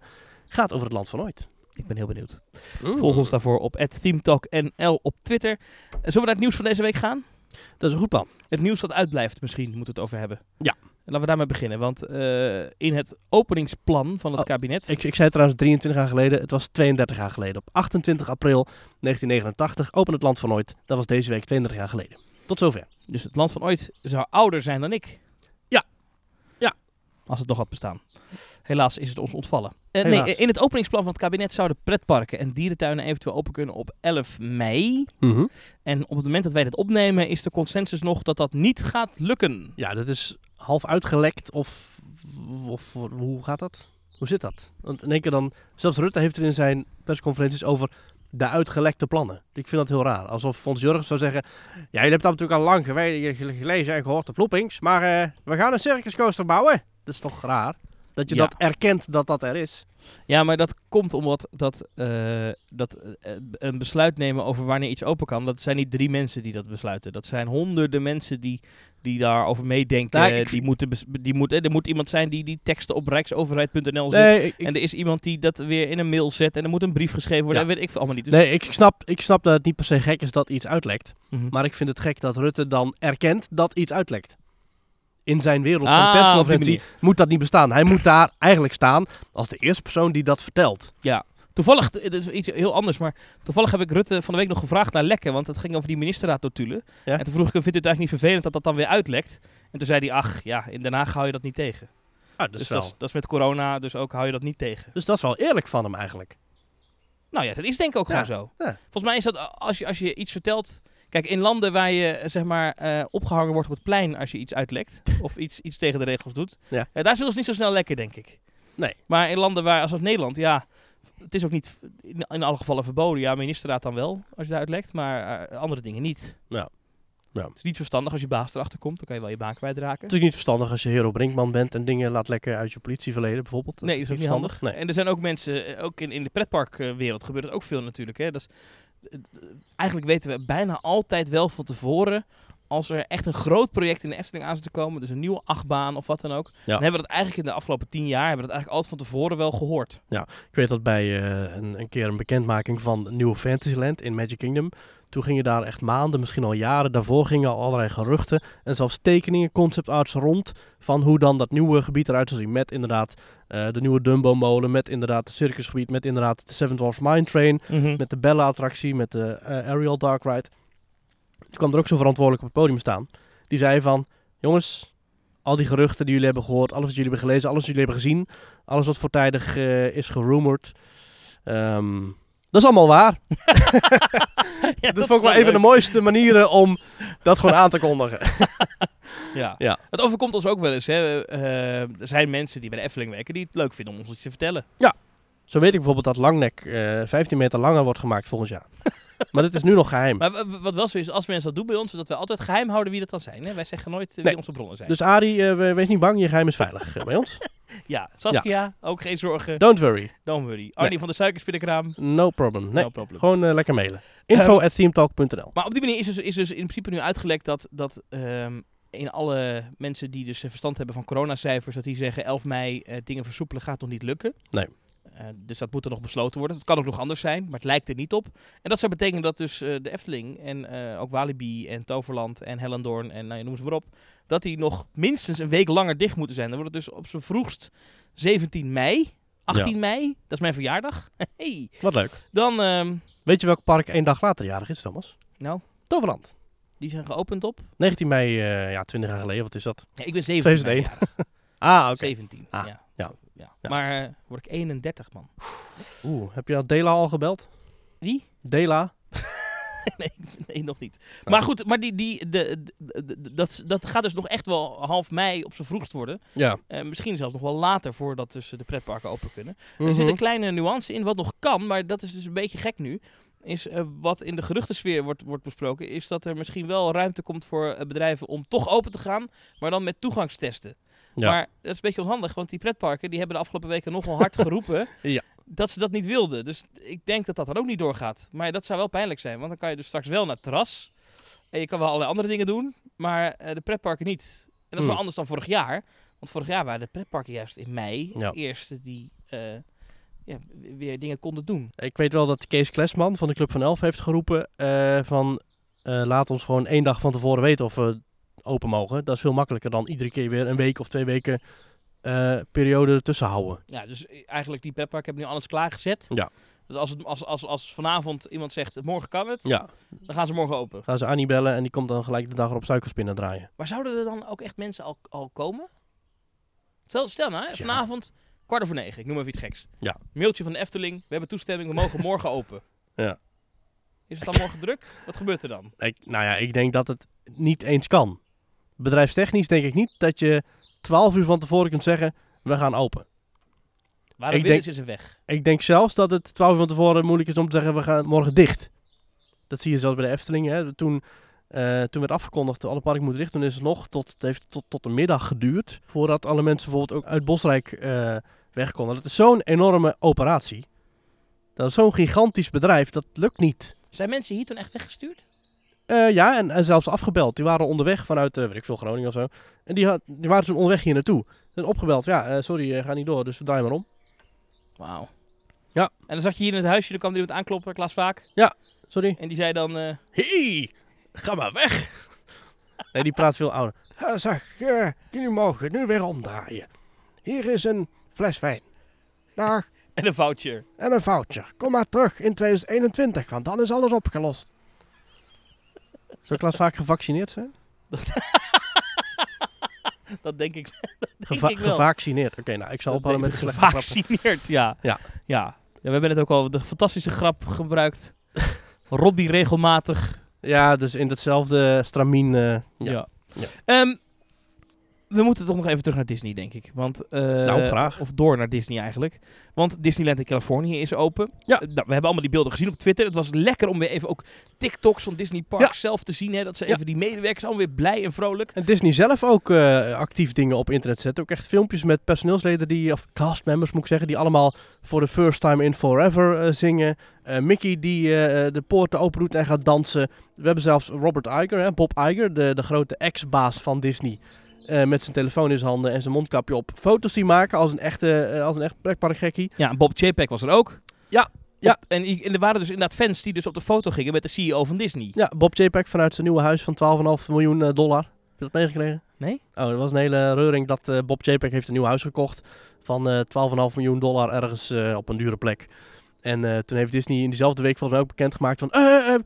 S1: gaat over het land van ooit.
S2: ik ben heel benieuwd.
S1: Mm.
S2: Volg ons daarvoor op @themetalknl op Twitter. Eh, Zullen we naar het nieuws van deze week gaan?
S1: Dat is een goed plan.
S2: Het nieuws dat uitblijft misschien, moeten we het over hebben.
S1: Ja.
S2: Laten we daarmee beginnen, want eh, in het openingsplan van het
S1: Oh,
S2: kabinet...
S1: Ik, ik zei trouwens 23 jaar geleden, het was 32 jaar geleden. Op 28 april 1989 opende het land van ooit. Dat was deze week 32 jaar geleden. Tot zover.
S2: Dus het land van ooit zou ouder zijn dan ik.
S1: Ja. Ja.
S2: Als het nog had bestaan. Helaas is het ons ontvallen. Eh, nee,
S1: Helaas.
S2: eh, in het openingsplan van het kabinet zouden pretparken en dierentuinen eventueel open kunnen op 11 mei.
S1: Mhm.
S2: En op het moment dat wij dit opnemen is de consensus nog dat dat niet gaat lukken.
S1: Ja, dat is half uitgelekt of, of hoe gaat dat? Hoe zit dat? Want in één keer dan, zelfs Rutte heeft er in zijn persconferenties over de uitgelekte plannen. Ik vind dat heel raar. Alsof Fons Jurgens zou zeggen, ja, jullie hebben dat natuurlijk al lang gewe- ge- gelezen en gehoord op Loopings, maar eh, we gaan een circuscoaster bouwen. Dat is toch raar? Dat je
S2: Ja.
S1: dat erkent dat dat er is.
S2: Ja, maar dat komt omdat dat, eh, dat eh, een besluit nemen over wanneer iets open kan. Dat zijn niet drie mensen die dat besluiten. Dat zijn honderden mensen die, die daarover meedenken.
S1: Nou, ik-
S2: die moeten bes- die moet, eh, er moet iemand zijn die die teksten op rijksoverheid.nl zet.
S1: Nee, ik,
S2: En er is iemand die dat weer in een mail zet. En er moet een brief geschreven worden.
S1: Ja.
S2: En weet ik veel allemaal niet. Dus,
S1: nee, ik snap, ik snap dat het niet per se gek is dat iets uitlekt.
S2: Mhm.
S1: Maar ik vind het gek dat Rutte dan erkent dat iets uitlekt. In zijn wereld van
S2: Ah, op die
S1: persconferentie
S2: manier.
S1: moet dat niet bestaan. Hij moet daar eigenlijk staan als de eerste persoon die dat vertelt.
S2: Toevallig, eh, dit is iets heel anders. Maar toevallig heb ik Rutte van de week nog gevraagd naar lekken. Want het ging over die ministerraad notulen.
S1: Ja.
S2: En toen vroeg ik hem, vindt u het eigenlijk niet vervelend dat dat dan weer uitlekt? En toen zei hij, ach ja, in Den Haag hou je dat niet tegen.
S1: Ah,
S2: Dus dat, is, dat is met corona, dus ook hou je dat niet tegen.
S1: dus dat is wel eerlijk van hem eigenlijk.
S2: Nou ja, dat is denk ik ook
S1: Ja,
S2: gewoon zo.
S1: ja.
S2: Volgens mij is dat eh, als je, als je iets vertelt. Kijk, in landen waar je eh, zeg maar eh, opgehangen wordt op het plein als je iets uitlekt. of iets, iets tegen de regels doet.
S1: Ja.
S2: eh, daar zullen ze niet zo snel lekker, denk ik.
S1: Nee.
S2: Maar in landen waar, als, als Nederland, ja. Het is ook niet v- in, in alle gevallen verboden. Ja, ministerraad dan wel, als je het uitlekt. Maar eh, andere dingen niet.
S1: Ja. Ja.
S2: Het is niet verstandig als je baas erachter komt. Dan kan je wel je baan kwijtraken.
S1: Het is niet verstandig als je Hero Brinkman bent en dingen laat lekken uit je politieverleden bijvoorbeeld.
S2: Nee, dat is ook niet handig.
S1: Nee.
S2: En er zijn ook mensen, eh, ook in, in de pretparkwereld gebeurt het ook veel natuurlijk. Hè? Dat is, eh, d- eigenlijk weten we bijna altijd wel van tevoren, als er echt een groot project in de Efteling aan zit te komen, dus een nieuwe achtbaan of wat dan ook, dan hebben we dat eigenlijk in de afgelopen tien jaar, hebben we dat eigenlijk altijd van tevoren wel gehoord.
S1: Ik weet dat bij eh, een, een keer een bekendmaking van een nieuwe Fantasyland in Magic Kingdom. Toen gingen daar echt maanden, misschien al jaren daarvoor, gingen al allerlei geruchten en zelfs tekeningen, concept arts rond van hoe dan dat nieuwe gebied eruit zou zien. Met inderdaad eh, de nieuwe Dumbo-molen, met inderdaad het circusgebied, met inderdaad de Seven Dwarfs Mine Train, met de Bella-attractie, met de eh, Ariel Dark Ride. Toen kwam er ook zo'n verantwoordelijk op het podium staan. Die zei van, jongens, al die geruchten die jullie hebben gehoord, alles wat jullie hebben gelezen, alles wat jullie hebben gezien, alles wat voortijdig eh, is gerumored, ehm, dat is allemaal waar.
S2: Ja,
S1: Dat, vond ik wel een van de mooiste manieren om dat gewoon aan te kondigen.
S2: Ja.
S1: Ja.
S2: Het overkomt ons ook wel eens. Hè. Eh, er zijn mensen die bij de Efteling werken die het leuk vinden om ons iets te vertellen.
S1: Zo weet ik bijvoorbeeld dat Langnek eh 15 meter langer wordt gemaakt volgend jaar. Maar dat is nu nog geheim.
S2: Maar w- w- wat wel zo is, als mensen dat doen bij ons, dat we altijd geheim houden wie dat dan zijn. Hè? Wij zeggen nooit eh, wie
S1: Nee.
S2: onze bronnen zijn.
S1: Dus Arie, eh, we- wees niet bang, je geheim is veilig eh, bij ons.
S2: Ja, Saskia, ook geen zorgen.
S1: Don't worry,
S2: Don't worry. Arnie van de Suikerspinnenkraam,
S1: no problem. Nee,
S2: no problem.
S1: gewoon eh, lekker mailen.
S2: Ehm.
S1: Info at themetalk.nl
S2: Maar op die manier is dus, is dus in principe nu uitgelekt dat, dat ehm, in alle mensen die dus eh, verstand hebben van coronacijfers, dat die zeggen 11 mei eh, dingen versoepelen gaat nog niet lukken.
S1: Nee.
S2: Eh, dus dat moet er nog besloten worden. Het kan ook nog anders zijn, maar het lijkt er niet op. En dat zou betekenen dat dus eh, de Efteling en eh, ook Walibi en Toverland en Hellendoorn en nou, ja, noem ze maar op, dat die nog minstens een week langer dicht moeten zijn. Dan wordt het dus op zijn vroegst 17 mei, 18 mei, dat is mijn verjaardag. Hey.
S1: Wat leuk.
S2: Dan, ehm,
S1: Weet je welk park één dag later jarig is, Thomas?
S2: nou,
S1: Toverland.
S2: die zijn geopend op
S1: 19 mei, eh, ja, 20 jaar geleden, wat is dat?
S2: Ja, ik ben 17.
S1: 17.
S2: jaar.
S1: Ah, oké.
S2: 17.
S1: Ah,
S2: ja.
S1: ja.
S2: Ja.
S1: Ja.
S2: Maar eh, word ik 31, man.
S1: Oeh, heb je al Dela al gebeld?
S2: Wie?
S1: Dela?
S2: Nee, nog niet. Maar goed, maar die, die, de, de- de- de- dat, dat gaat dus nog echt wel half mei op zijn vroegst worden.
S1: Ja.
S2: Eh, misschien zelfs nog wel later voordat dus de pretparken open kunnen. Er zit een
S1: Mhm.
S2: kleine nuance in wat nog kan, maar dat is dus een beetje gek nu. Is eh, wat in de geruchtensfeer wordt, wordt besproken, is dat er misschien wel ruimte komt voor eh, bedrijven om toch open te gaan, maar dan met toegangstesten.
S1: Ja.
S2: Maar dat is een beetje onhandig, want die pretparken die hebben de afgelopen weken nogal hard geroepen
S1: Ja.
S2: dat ze dat niet wilden. Dus ik denk dat dat dan ook niet doorgaat. Maar dat zou wel pijnlijk zijn, want dan kan je dus straks wel naar het terras en je kan wel allerlei andere dingen doen, maar eh, de pretparken niet. En dat is wel
S1: Hmm.
S2: anders dan vorig jaar, want vorig jaar waren de pretparken juist in mei
S1: Ja.
S2: het eerste die eh, ja, weer dingen konden doen.
S1: Mhm. Ik weet wel dat Kees Klesman van de Club van Elf heeft geroepen eh, van eh, laat ons gewoon één dag van tevoren weten of we open mogen. Dat is veel makkelijker dan iedere keer weer een week of twee weken eh, periode ertussen houden.
S2: Ja, dus eigenlijk die pretparken hebben nu alles klaargezet.
S1: Ja.
S2: Dus als, het, als, als, als vanavond iemand zegt, morgen kan het,
S1: Ja,
S2: dan gaan ze morgen open.
S1: gaan ze Annie bellen en die komt dan gelijk de dag erop suikerspinnen draaien.
S2: Maar zouden er dan ook echt mensen al, al komen? Stel, stel nou, hè,
S1: Ja.
S2: vanavond kwart over negen, ik noem even iets geks.
S1: Ja.
S2: Mailtje van de Efteling, we hebben toestemming, we mogen morgen open.
S1: Ja.
S2: Is het dan morgen druk? Wat gebeurt er dan?
S1: Ik, nou ja, ik denk dat het niet eens kan. Bedrijfstechnisch denk ik niet dat je 12 uur van tevoren kunt zeggen we gaan open.
S2: Waarom
S1: Ik
S2: willen ze ze weg?
S1: Ik denk zelfs dat het 12 uur van tevoren moeilijk is om te zeggen: we gaan morgen dicht. Dat zie je zelfs bij de Efteling. Hè. Toen, eh, toen werd afgekondigd dat alle parken moeten dicht, toen is het nog tot, het heeft tot, tot de middag geduurd. Voordat alle mensen bijvoorbeeld ook uit Bosrijk eh weg konden. Dat is zo'n enorme operatie. Dat is zo'n gigantisch bedrijf, dat lukt niet.
S2: Zijn mensen hier toen echt weggestuurd?
S1: Eh, ja, en, en zelfs afgebeld. Die waren onderweg vanuit, eh weet ik veel, Groningen of zo. En die, had, die waren toen onderweg hier naartoe. En opgebeld, ja, eh, sorry, eh, ga niet door, dus we draaien maar om.
S2: Wauw.
S1: Ja.
S2: En dan zat je hier in het huisje, dan kwam er iemand aankloppen, Klaas Vaak.
S1: Sorry.
S2: En die zei dan, eh,
S1: Hé, ga maar weg. Nee, die praat veel ouder.
S3: Eh, zeg, eh, jullie mogen nu weer omdraaien. Hier is een fles wijn. Dag,
S2: en een voucher.
S3: en een voucher. Kom maar terug in 2021, want dan is alles opgelost.
S1: Zou Klaas vaak gevaccineerd zijn?
S2: Dat denk ik, dat denk
S1: Geva-
S2: ik wel.
S1: Gevaccineerd. Oké, nou, ik zal
S2: Dat
S1: ophouden met
S2: denk
S1: de
S2: ik.
S1: slechte grappen.
S2: Gevaccineerd, ja.
S1: Ja.
S2: ja. Ja, we hebben net ook al de fantastische grap gebruikt. Robby regelmatig.
S1: Ja, dus in datzelfde stramien. eh,
S2: Ja.
S1: ja. Ja.
S2: Ehm, we moeten toch nog even terug naar Disney, denk ik. Want, eh,
S1: Nou, graag.
S2: Of door naar Disney eigenlijk. Want Disneyland in Californië is open.
S1: Ja.
S2: Eh, nou, we hebben allemaal die beelden gezien op Twitter. Het was lekker om weer even ook TikToks van Disney Park
S1: Ja.
S2: zelf te zien. Hè, dat ze
S1: Ja.
S2: even die medewerkers allemaal weer blij en vrolijk.
S1: En Disney zelf ook eh, actief dingen op internet zetten. Ook echt filmpjes met personeelsleden die, of castmembers moet ik zeggen, die allemaal voor de first time in forever eh, zingen. Eh, Mickey die eh, eh, de poorten opendoet en gaat dansen. We hebben zelfs Robert Iger, hè, Bob Iger, de, de grote ex-baas van Disney. eh, met zijn telefoon in zijn handen en zijn mondkapje op. Foto's die maken als een echte, eh, als een echt pretparkgekkie.
S2: Ja, en Bob Chapek was er ook.
S1: Ja,
S2: Op-
S1: ja.
S2: en, i- en er waren dus inderdaad fans die dus op de foto gingen met de CEO van Disney.
S1: Ja, Bob J. vanuit zijn nieuwe huis van 12,5 miljoen eh, dollar. Heb je dat meegekregen?
S2: Nee.
S1: Oh, er was een hele reuring dat eh, Bob J. heeft een nieuw huis gekocht van eh 12,5 miljoen dollar ergens eh, op een dure plek. En eh, toen heeft Disney in diezelfde week volgens mij ook bekendgemaakt van... eh, eh, eh,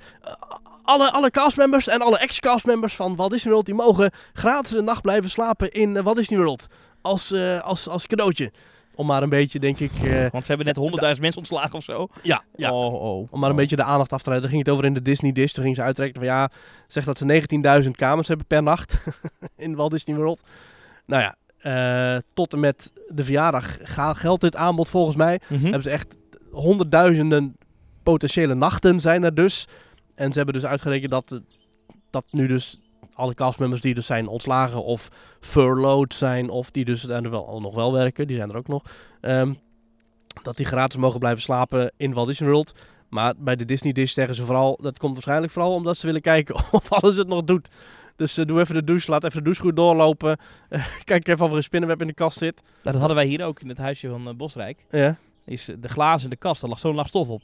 S1: alle, alle castmembers en alle ex-castmembers van Walt Disney World... die mogen gratis een nacht blijven slapen in eh, Walt Disney World. Als, eh, als, als cadeautje. Om maar een beetje, denk ik... eh,
S2: Want ze hebben net 100.000 mensen ontslagen of zo.
S1: ja, ja,
S2: Oh, oh.
S1: om maar een beetje de aandacht af te leiden. Daar ging het over in de Disney Dish. Toen ging ze uitrekenen van ja, zeg dat ze 19.000 kamers hebben per nacht in Walt Disney World. Nou ja, eh, tot en met de verjaardag ga- geldt dit aanbod volgens mij.
S2: Mhm.
S1: Hebben ze echt honderdduizenden potentiële nachten zijn er dus. En ze hebben dus uitgerekend dat, eh, dat nu dus alle castmembers die dus zijn ontslagen of furloughed zijn... of die dus er wel, nog wel werken, die zijn er ook nog... ehm, dat die gratis mogen blijven slapen in Walt Disney World. Maar bij de Disney Dish zeggen ze vooral... dat komt waarschijnlijk vooral omdat ze willen kijken of alles het nog doet. Dus eh, doe even de douche, laat even de douche goed doorlopen. Eh, kijk even of er een spinnenweb in de kast zit.
S2: Nou, dat hadden wij hier ook in het huisje van eh, Bosrijk.
S1: Ja.
S2: Is eh, de glazen in de kast, daar lag zo'n laag stof op.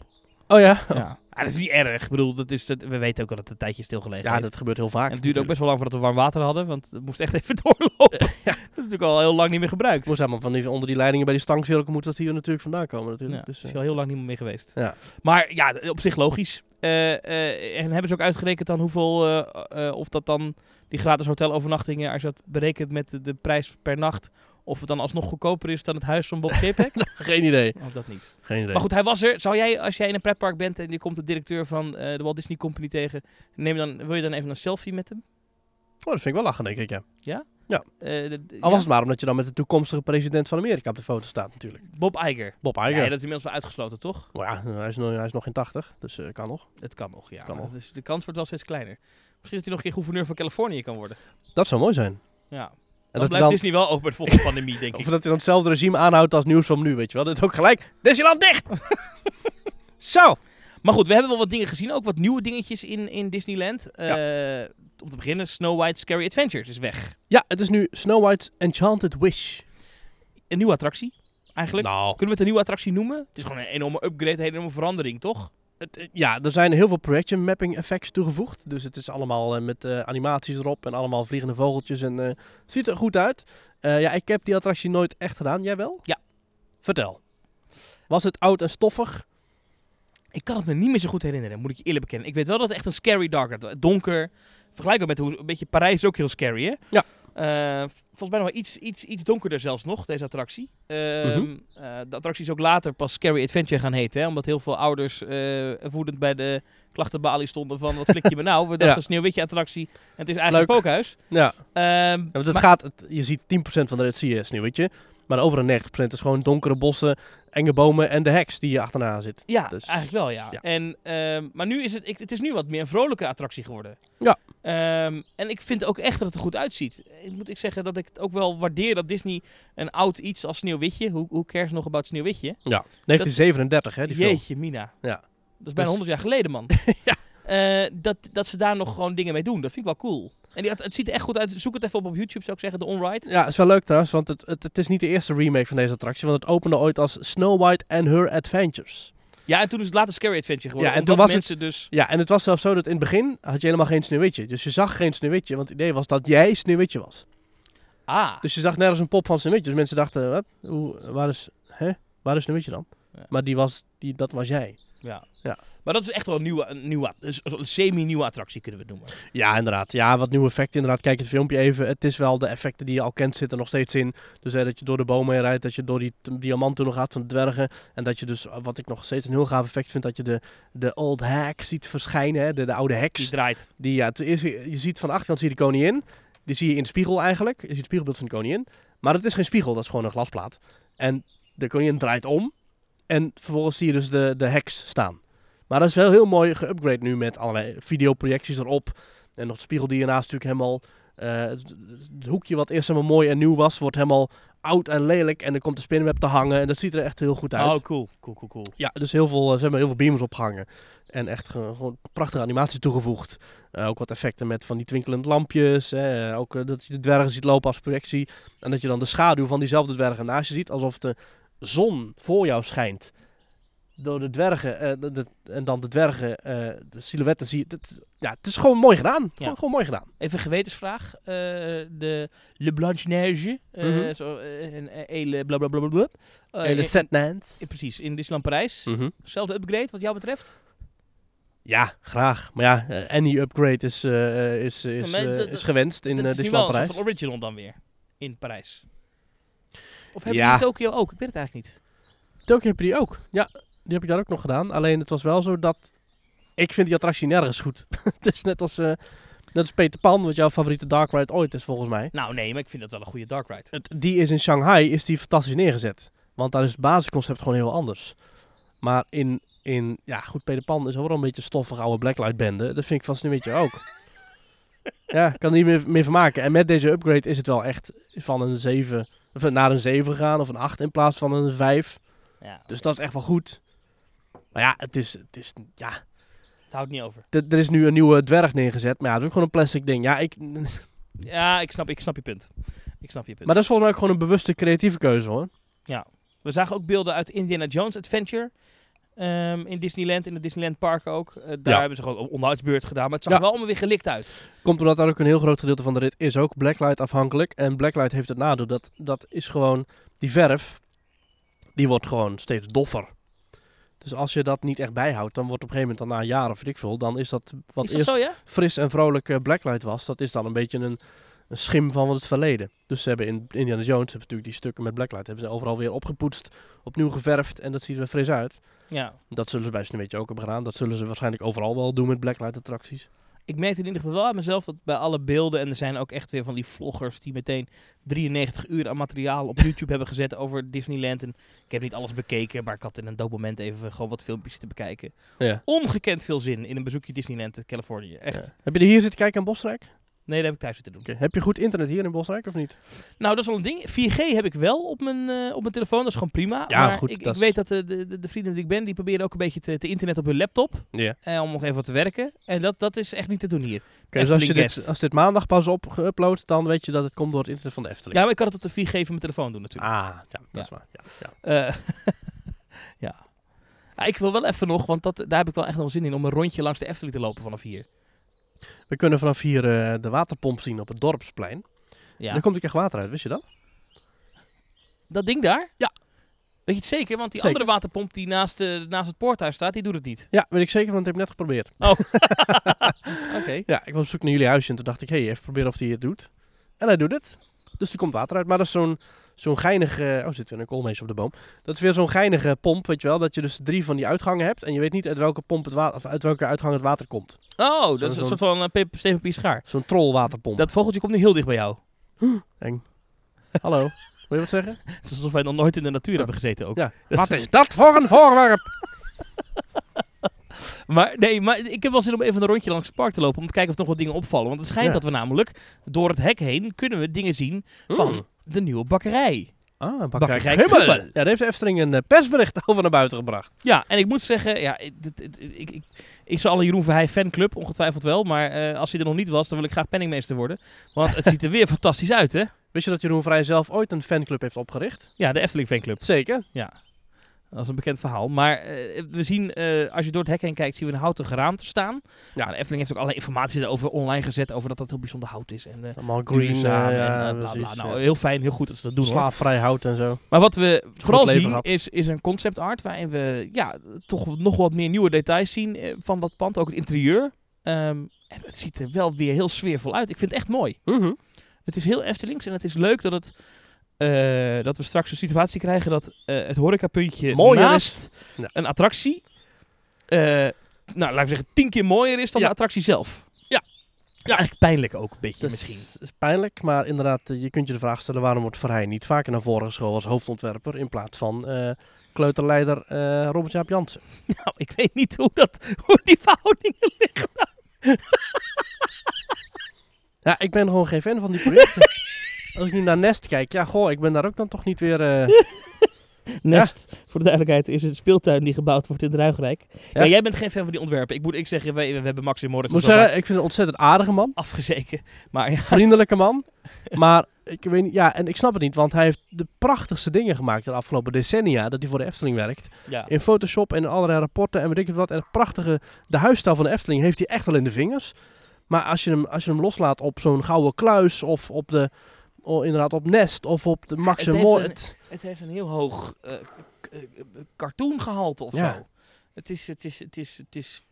S1: Oh ja?
S2: Ja. Ah, dat is niet erg. Ik bedoel, dat is, dat, we weten ook al dat het een tijdje stilgelegen
S1: Ja,
S2: heeft.
S1: dat gebeurt heel vaak.
S2: en het duurde ook best wel lang voordat we warm water hadden, want het moest echt even doorlopen. Dat is natuurlijk al heel lang niet meer gebruikt.
S1: Hoe zeg maar, van die, onder die leidingen bij die stangcirkel moet dat hier natuurlijk vandaan komen natuurlijk.
S2: Ja,
S1: dus, eh,
S2: is al heel lang niet meer mee geweest.
S1: Ja.
S2: Maar ja, op zich logisch. Eh, eh, en hebben ze ook uitgerekend dan hoeveel, eh, eh, of dat dan die gratis hotelovernachtingen, als je dat berekent met de, de prijs per nacht, Of het dan alsnog goedkoper is dan het huis van Bob Chapek?
S1: Geen idee.
S2: of dat niet.
S1: Geen idee.
S2: Maar goed, hij was er. Zou jij, als jij in een pretpark bent en je komt de directeur van eh, de Walt Disney Company tegen, neem dan, wil je dan even een selfie met hem?
S1: Oh, dat vind ik wel lachen, denk ik, ja.
S2: Eh, de- de-
S1: Al Ah, was
S2: ja,
S1: het maar omdat je dan met de toekomstige president van Amerika op de foto staat natuurlijk.
S2: Bob Iger.
S1: Bob
S2: Ja,
S1: Iger.
S2: dat is inmiddels wel uitgesloten, toch?
S1: Nou ja, hij is, nog, hij is nog geen 80, dus eh, kan nog.
S2: Het kan nog, ja.
S1: Kan
S2: maar
S1: nog.
S2: dat is- de kans wordt wel steeds kleiner. Misschien dat hij nog een keer gouverneur van Californië kan worden.
S1: Dat zou mooi zijn.
S2: Ja. Dan
S1: En
S2: blijft
S1: dat hij dan,
S2: Disney wel open bij de volgende pandemie, denk
S1: of
S2: ik.
S1: dat hij dan hetzelfde regime aanhoudt als nieuws van nu, weet je wel. Dat ook gelijk, Disneyland dicht! Zo!
S2: Maar goed, we hebben wel wat dingen gezien. Ook wat nieuwe dingetjes in, in Disneyland. Eh, Om te beginnen, Snow White's Scary Adventures is weg.
S1: Ja, het is nu Snow White's Enchanted Wish.
S2: Een nieuwe attractie, eigenlijk.
S1: Nou,
S2: Kunnen we het een nieuwe attractie noemen? Het is gewoon een enorme upgrade, een enorme verandering, toch?
S1: Het, eh, ja, er zijn heel veel projection mapping effects toegevoegd. Dus het is allemaal eh, met eh, animaties erop en allemaal vliegende vogeltjes. En eh, het ziet er goed uit. Eh, ja, ik heb die attractie nooit echt gedaan. Jij wel?
S2: Ja.
S1: Vertel. Was het oud en stoffig?
S2: Ik kan het me niet meer zo goed herinneren, moet ik je eerlijk bekennen. Ik weet wel dat het echt een scary dark had. Donker. Vergelijkbaar met hoe een beetje Parijs is ook heel scary, hè?
S1: Ja.
S2: Eh, v- volgens mij nog wel iets, iets, iets donkerder zelfs nog, deze attractie. Ehm,
S1: Mhm.
S2: eh, de attractie is ook later pas Scary Adventure gaan heten. Hè, omdat heel veel ouders eh, woedend bij de klachtenbalie stonden van... Wat flik je me nou? We dachten sneeuwwitje attractie en het is eigenlijk een spookhuis.
S1: Ja.
S2: Ehm,
S1: want het
S2: maar-
S1: gaat, het- je ziet 10% van de Red Sea sneeuwwitje. Maar de overige 90% is gewoon donkere bossen, enge bomen en de heks die je achterna zit.
S2: Ja,
S1: Dus-
S2: eigenlijk wel, ja.
S1: ja.
S2: En, ehm, maar nu is het, ik, het is nu wat meer een vrolijke attractie geworden.
S1: Ja.
S2: Ehm, en ik vind ook echt dat het er goed uitziet. Ik moet ik zeggen dat ik het ook wel waardeer dat Disney een oud iets als Sneeuwwitje. Hoe, hoe cares nog about Sneeuwwitje?
S1: 1937, hè, die film.
S2: Jeetje, Mina.
S1: Ja.
S2: Dat is bijna
S1: Dus-
S2: 100 jaar geleden, man.
S1: Ja.
S2: Eh, dat, dat ze daar nog gewoon dingen mee doen. Dat vind ik wel cool. En die, at- het ziet er echt goed uit. Zoek het even op op YouTube, zou ik zeggen. De Onride.
S1: Ja, is wel leuk trouwens, want het, het, het is niet de eerste remake van deze attractie. Want het opende ooit als Snow White and Her Adventures.
S2: Ja, en toen is het later Scary Adventure geworden.
S1: Ja, en
S2: omdat
S1: toen was het-
S2: mensen dus...
S1: Ja, en het was zelfs zo dat in het begin had je helemaal geen sneeuwwitje. Dus je zag geen sneeuwwitje, want het idee was dat jij sneeuwwitje was.
S2: Ah.
S1: Dus je zag nergens een pop van sneeuwwitje. Dus mensen dachten, wat? Hoe, waar is, hè? Waar is sneeuwwitje dan?
S2: Ja.
S1: Maar die was, die, dat was jij.
S2: Ja.
S1: Ja.
S2: Maar dat is echt wel een nieuwe, een nieuwe een s- een semi-nieuwe attractie kunnen we het noemen.
S1: Ja, inderdaad. Ja, wat nieuwe effecten. Inderdaad, kijk het filmpje even. Het is wel de effecten die je al kent zitten er nog steeds in. Dus hè, dat je door de bomen heen rijdt, dat je door die t- diamanten nog gaat van de dwergen. En dat je dus, wat ik nog steeds een heel gaaf effect vind, dat je de, de old hack ziet verschijnen. Hè? De, de oude heks.
S2: Die draait.
S1: Die, ja, het is, je ziet van de achterkant zie je de koningin. Die zie je in de spiegel eigenlijk. Je ziet het spiegelbeeld van de koningin. Maar het is geen spiegel, dat is gewoon een glasplaat. En de koningin draait om. En vervolgens zie je dus de, de heks staan. Maar dat is wel heel mooi geüpgrade nu met allerlei videoprojecties erop. En nog de spiegel die ernaast natuurlijk helemaal... eh, het, het hoekje wat eerst helemaal mooi en nieuw was, wordt helemaal oud en lelijk. En er komt de spinweb te hangen. En dat ziet er echt heel goed uit.
S2: Oh, cool. Cool, cool, cool.
S1: Ja, dus heel veel, eh, ze hebben heel veel beamers opgehangen. En echt ge- gewoon prachtige animatie toegevoegd. Eh, ook wat effecten met van die twinkelend lampjes. hè. ook eh, dat je de dwergen ziet lopen als projectie. En dat je dan de schaduw van diezelfde dwergen naast je ziet. Alsof de zon voor jou schijnt. Door de dwergen. eh, de- de- en dan de dwergen, eh, de silhouetten zie je. Dat, ja, het is gewoon mooi gedaan. Gewoon, gewoon mooi gedaan.
S2: Even een gewetensvraag. Eh, de Le Blanche Neige. eh,
S1: Mhm.
S2: zo, eh, en eh, Ele bla bla bla bla, bla. Eh,
S1: en de
S2: eh,
S1: setnants.
S2: eh, precies, in Disneyland Parijs.
S1: Mhm.
S2: Zelfde upgrade wat jou betreft.
S1: Ja, graag. Maar ja, eh, any upgrade is, eh, is, is,
S2: maar
S1: eh,
S2: dat-
S1: is gewenst in
S2: dat
S1: eh,
S2: is nu wel
S1: Disneyland
S2: een soort
S1: Parijs.
S2: van original dan weer. In Parijs. Of hebben
S1: Ja.
S2: jullie in Tokio ook? Ik weet het eigenlijk niet.
S1: Tokyo heb je die ook. Ja, die heb ik daar ook nog gedaan. Alleen het was wel zo dat... Ik vind die attractie nergens goed. het is net als, eh, net als Peter Pan, wat jouw favoriete dark ride ooit is volgens mij.
S2: Nou nee, maar ik vind dat wel een goede dark ride.
S1: Het- die is in Shanghai is die fantastisch neergezet. Want daar is het basisconcept gewoon heel anders. Maar in, in ja goed, Peter Pan is ook wel een beetje stoffig oude blacklight bende. Dat vind ik vast een beetje ook. ja, ik kan er niet meer, meer van maken. En met deze upgrade is het wel echt van een 7 of naar een 7 gegaan of een 8 in plaats van een 5.
S2: Ja,
S1: Dus dat is echt wel goed. Maar ja, het is, het is ja,
S2: het houdt niet over.
S1: d- er is nu een nieuwe dwerg neergezet. Maar ja, dat is ook gewoon een plastic ding. Ja, ik, maar
S2: Ja, ik snap, ik snap je punt. Ik snap je punt.
S1: dat is volgens mij ook gewoon een bewuste creatieve keuze hoor.
S2: We zagen ook beelden uit Indiana Jones Adventure. ehm, in Disneyland, in het Disneyland Park ook. Eh, daar
S1: Ja.
S2: hebben ze gewoon een onderhoudsbeurt gedaan. Maar het zag
S1: Ja.
S2: er wel allemaal weer gelikt uit.
S1: Komt omdat daar ook een heel groot gedeelte van de rit is ook blacklight afhankelijk. En blacklight heeft het nadeel dat dat is gewoon die verf, die wordt gewoon steeds doffer. Dus als je dat niet echt bijhoudt, dan wordt op een gegeven moment dan na jaren, weet ik veel, dan is dat wat
S2: is dat
S1: eerst
S2: zo, ja?
S1: fris en vrolijk eh, blacklight was, dat is dan een beetje een, een schim van het verleden. Dus ze hebben in Indiana Jones hebben ze natuurlijk die stukken met Blacklight hebben ze overal weer opgepoetst, opnieuw geverfd en dat ziet er weer fris uit.
S2: Ja.
S1: Dat zullen ze bij Sneeuwwitje ook hebben gedaan. Dat zullen ze waarschijnlijk overal wel doen met Blacklight attracties.
S2: Ik merkte in ieder geval wel aan mezelf dat bij alle beelden... en er zijn ook echt weer van die vloggers die meteen 93 uur aan materiaal op YouTube hebben gezet over Disneyland. En ik heb niet alles bekeken, maar ik had in een dood moment even gewoon wat filmpjes te bekijken.
S1: Ja.
S2: Ongekend veel zin in een bezoekje Disneyland Californië. Echt.
S1: Ja. Heb je er hier zitten kijken in Bosrijk?
S2: Nee, dat heb ik thuis zitten doen.
S1: Oké. Heb je goed internet hier in Bosrijk of niet?
S2: Nou, dat is wel een ding. 4G heb ik wel op mijn, eh, op mijn telefoon. Dat is gewoon prima.
S1: Ja,
S2: maar
S1: goed,
S2: ik,
S1: dat
S2: ik
S1: is-
S2: weet dat eh, de, de, de vrienden die ik ben, die proberen ook een beetje te, te internet op hun laptop.
S1: Ja.
S2: eh, om nog even wat te werken. En dat, dat is echt niet te doen hier.
S1: Oké, dus als, je
S2: Efteling
S1: dit,
S2: Guest.
S1: als dit maandag pas op geüpload, dan weet je dat het komt door het internet van de Efteling.
S2: Ja, maar ik kan het op de 4G van mijn telefoon doen natuurlijk.
S1: Ah, ja, dat
S2: Ja.
S1: is waar. Ja, ja.
S2: Eh, ja. Ah, ik wil wel even nog, want dat, daar heb ik wel echt nog zin in, om een rondje langs de Efteling te lopen vanaf hier.
S1: We kunnen vanaf hier eh, de waterpomp zien op het dorpsplein.
S2: Ja.
S1: Daar komt ook echt water uit, wist je dat?
S2: Dat ding daar?
S1: Ja.
S2: Weet je het zeker? Want die
S1: Zeker.
S2: andere waterpomp die naast, eh, naast het poorthuis staat, die doet het niet.
S1: Ja, weet ik zeker, want ik heb net geprobeerd.
S2: Oké.
S1: Ja, ik was op zoek naar jullie huisje en toen dacht ik, hé, hey, even proberen of hij het doet. En hij doet het. Dus er komt water uit. Maar dat is zo'n zo'n geinige... Oh, zit weer een koolmees op de boom. Dat is weer zo'n geinige pomp, weet je wel. Dat je dus drie van die uitgangen hebt en je weet niet uit welke, pomp het wa- of uit welke uitgang het water komt.
S2: Oh, dat
S1: Zo'n-
S2: is een
S1: zo'n-
S2: soort van eh, pe- steen, papier, schaar.
S1: Zo'n trollwaterpomp.
S2: Dat vogeltje komt nu heel dicht bij jou.
S1: Hallo, wil je wat zeggen?
S2: Het is alsof wij nog nooit in de natuur
S1: Ja.
S2: hebben gezeten ook.
S1: Ja. Wat is dat voor een voorwerp?
S2: Maar nee, maar ik heb wel zin om even een rondje langs het park te lopen om te kijken of er nog wat dingen opvallen. Want het schijnt
S1: Ja.
S2: dat we namelijk door het hek heen kunnen we dingen zien van
S1: Hmm.
S2: de nieuwe bakkerij.
S1: Ah, een bakkerij
S2: Bakkerij
S1: Gubbel.
S2: Gubbel.
S1: Ja, daar heeft de Efteling een eh, persbericht over naar buiten gebracht.
S2: Ja, en ik moet zeggen, ja, ik- dit- dit- ik, ik, ik zal een Jeroen Verheij fanclub, ongetwijfeld wel. Maar eh, als hij er nog niet was, dan wil ik graag penningmeester worden. Want het ziet er weer fantastisch uit, hè?
S1: Wist je dat Jeroen Vrij zelf ooit een fanclub heeft opgericht?
S2: Ja, de Efteling fanclub.
S1: Zeker.
S2: Dat is een bekend verhaal. Maar eh, we zien, eh, als je door het hek heen kijkt, zien we een houten geraamte staan. Ja. de Efteling heeft ook allerlei informatie daarover online gezet, over dat dat heel bijzonder hout is. En, eh,
S1: Allemaal green, eh,
S2: duurzaam
S1: ja,
S2: en eh, bla, bla.
S1: precies,
S2: Nou,
S1: eh,
S2: heel fijn, heel goed dat ze dat doen. hoor.
S1: slaafvrij hout en zo.
S2: Maar wat we vooral
S1: leven
S2: zien
S1: gehad.
S2: is, is een concept art waarin we ja, toch nog wat meer nieuwe details zien eh, van dat pand. Ook het interieur. Ehm, en het ziet er wel weer heel sfeervol uit. Ik vind het echt mooi. Het is heel Eftelings en het is leuk dat, het, eh, dat we straks een situatie krijgen dat eh, het horecapuntje
S1: Mooier
S2: naast
S1: Ja.
S2: een attractie, eh, nou laten we zeggen, tien keer mooier is dan
S1: Ja.
S2: de attractie zelf.
S1: Ja.
S2: Ja. Eigenlijk pijnlijk ook een beetje
S1: Dat
S2: misschien.
S1: is, is pijnlijk, maar inderdaad, eh, je kunt je de vraag stellen waarom wordt Verheij niet vaker naar voren geschoven als hoofdontwerper in plaats van eh, kleuterleider eh, Robert Jaap Jansen.
S2: Nou, ik weet niet hoe, dat, hoe die verhoudingen
S1: Ja, ik ben gewoon geen fan van die projecten. als ik nu naar Nest kijk, ja goh, ik ben daar ook dan toch niet weer... eh,
S2: Nest, voor de duidelijkheid, is een speeltuin die gebouwd wordt in Ruigrijk. Ja.
S1: Ja.
S2: jij bent geen fan van die ontwerpen. Ik moet ik zeggen, wij, we hebben Max in
S1: ik
S2: Morris
S1: moet zeggen, ik vind het een ontzettend aardige man.
S2: afgezeken. Maar ja,
S1: vriendelijke man. Maar ik weet niet, ja, en ik snap het niet, want hij heeft de prachtigste dingen gemaakt de afgelopen decennia dat hij voor de Efteling werkt.
S2: ja.
S1: In Photoshop en in allerlei rapporten en weet ik het wat. En het prachtige, de huisstijl van de Efteling heeft hij echt wel in de vingers. Maar als je hem, als je hem loslaat op zo'n gouden kluis of op de, oh, inderdaad op Nest of op de Max
S2: het
S1: en
S2: heeft
S1: Moritz.
S2: het heeft een heel hoog eh k- eh, cartoongehalte of
S1: Ja.
S2: zo. Het is, het is, het is, het is...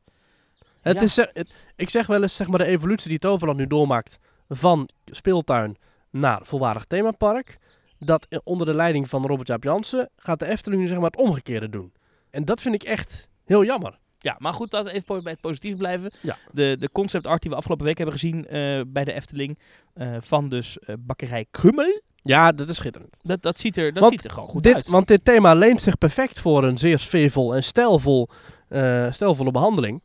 S1: Het
S2: ja.
S1: is, eh, het- ik zeg wel eens zeg maar, de evolutie die Toverland nu doormaakt van speeltuin naar volwaardig themapark. Dat eh, onder de leiding van Robert Jaap Jansen gaat de Efteling nu zeg maar, het omgekeerde doen. En dat vind ik echt heel jammer.
S2: Ja, maar goed, laten we even po- bij het positief blijven.
S1: Ja.
S2: De, de concept art die we afgelopen week hebben gezien eh, bij de Efteling, eh, van dus eh, bakkerij Krummel,
S1: Ja, dat is schitterend.
S2: dat, dat, ziet, er, dat
S1: Want
S2: ziet er gewoon goed
S1: dit,
S2: uit.
S1: Want dit thema leent zich perfect voor een zeer sfeervol en stijlvol, eh, stijlvolle behandeling.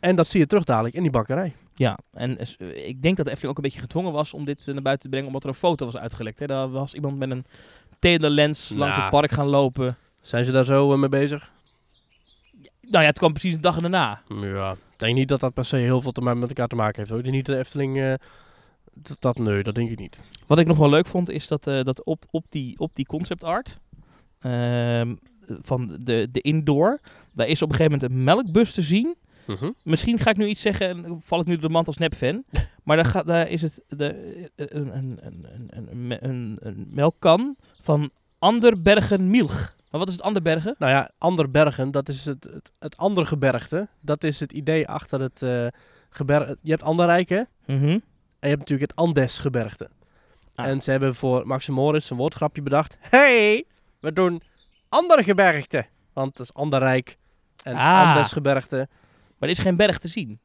S1: En dat zie je terug dadelijk in die bakkerij.
S2: Ja, en eh, s- eh, ik denk dat de Efteling ook een beetje gedwongen was om dit eh, naar buiten te brengen, omdat er een foto was uitgelekt. Hè. Daar was iemand met een telelens langs
S1: Nou.
S2: het park gaan lopen.
S1: Zijn ze daar zo eh, mee bezig?
S2: Nou ja, het kwam precies een dag daarna.
S1: Ja. Ik denk niet dat dat per se heel veel te ma- met elkaar te maken heeft. Hoor. Ik denk niet dat de Efteling... eh, dat, dat, nee, dat denk ik niet.
S2: Wat ik nog wel leuk vond, is dat, eh, dat op, op, die, op die concept art ehm, van de, de indoor, daar is op een gegeven moment een melkbus te zien. Misschien ga ik nu iets zeggen en val ik nu door de mand als nepfan. Maar daar, gaat, daar is het de, eh, een, een, een, een, een, een, een melkkan van Anderbergen Mielch. Maar wat is het Anderbergen?
S1: Nou ja, Anderbergen, dat is het, het, het andere
S2: Mhm.
S1: gebergte. Dat is het idee achter het eh gebergte. Je hebt Anderrijk, hè? En je hebt natuurlijk het Andesgebergte.
S2: Ah.
S1: En ze hebben voor Max en Moritz een woordgrapje bedacht.
S3: hey, we doen andere gebergte.
S1: Want het is Anderrijk en
S2: Ah.
S1: Andesgebergte.
S2: Maar er is geen berg te zien.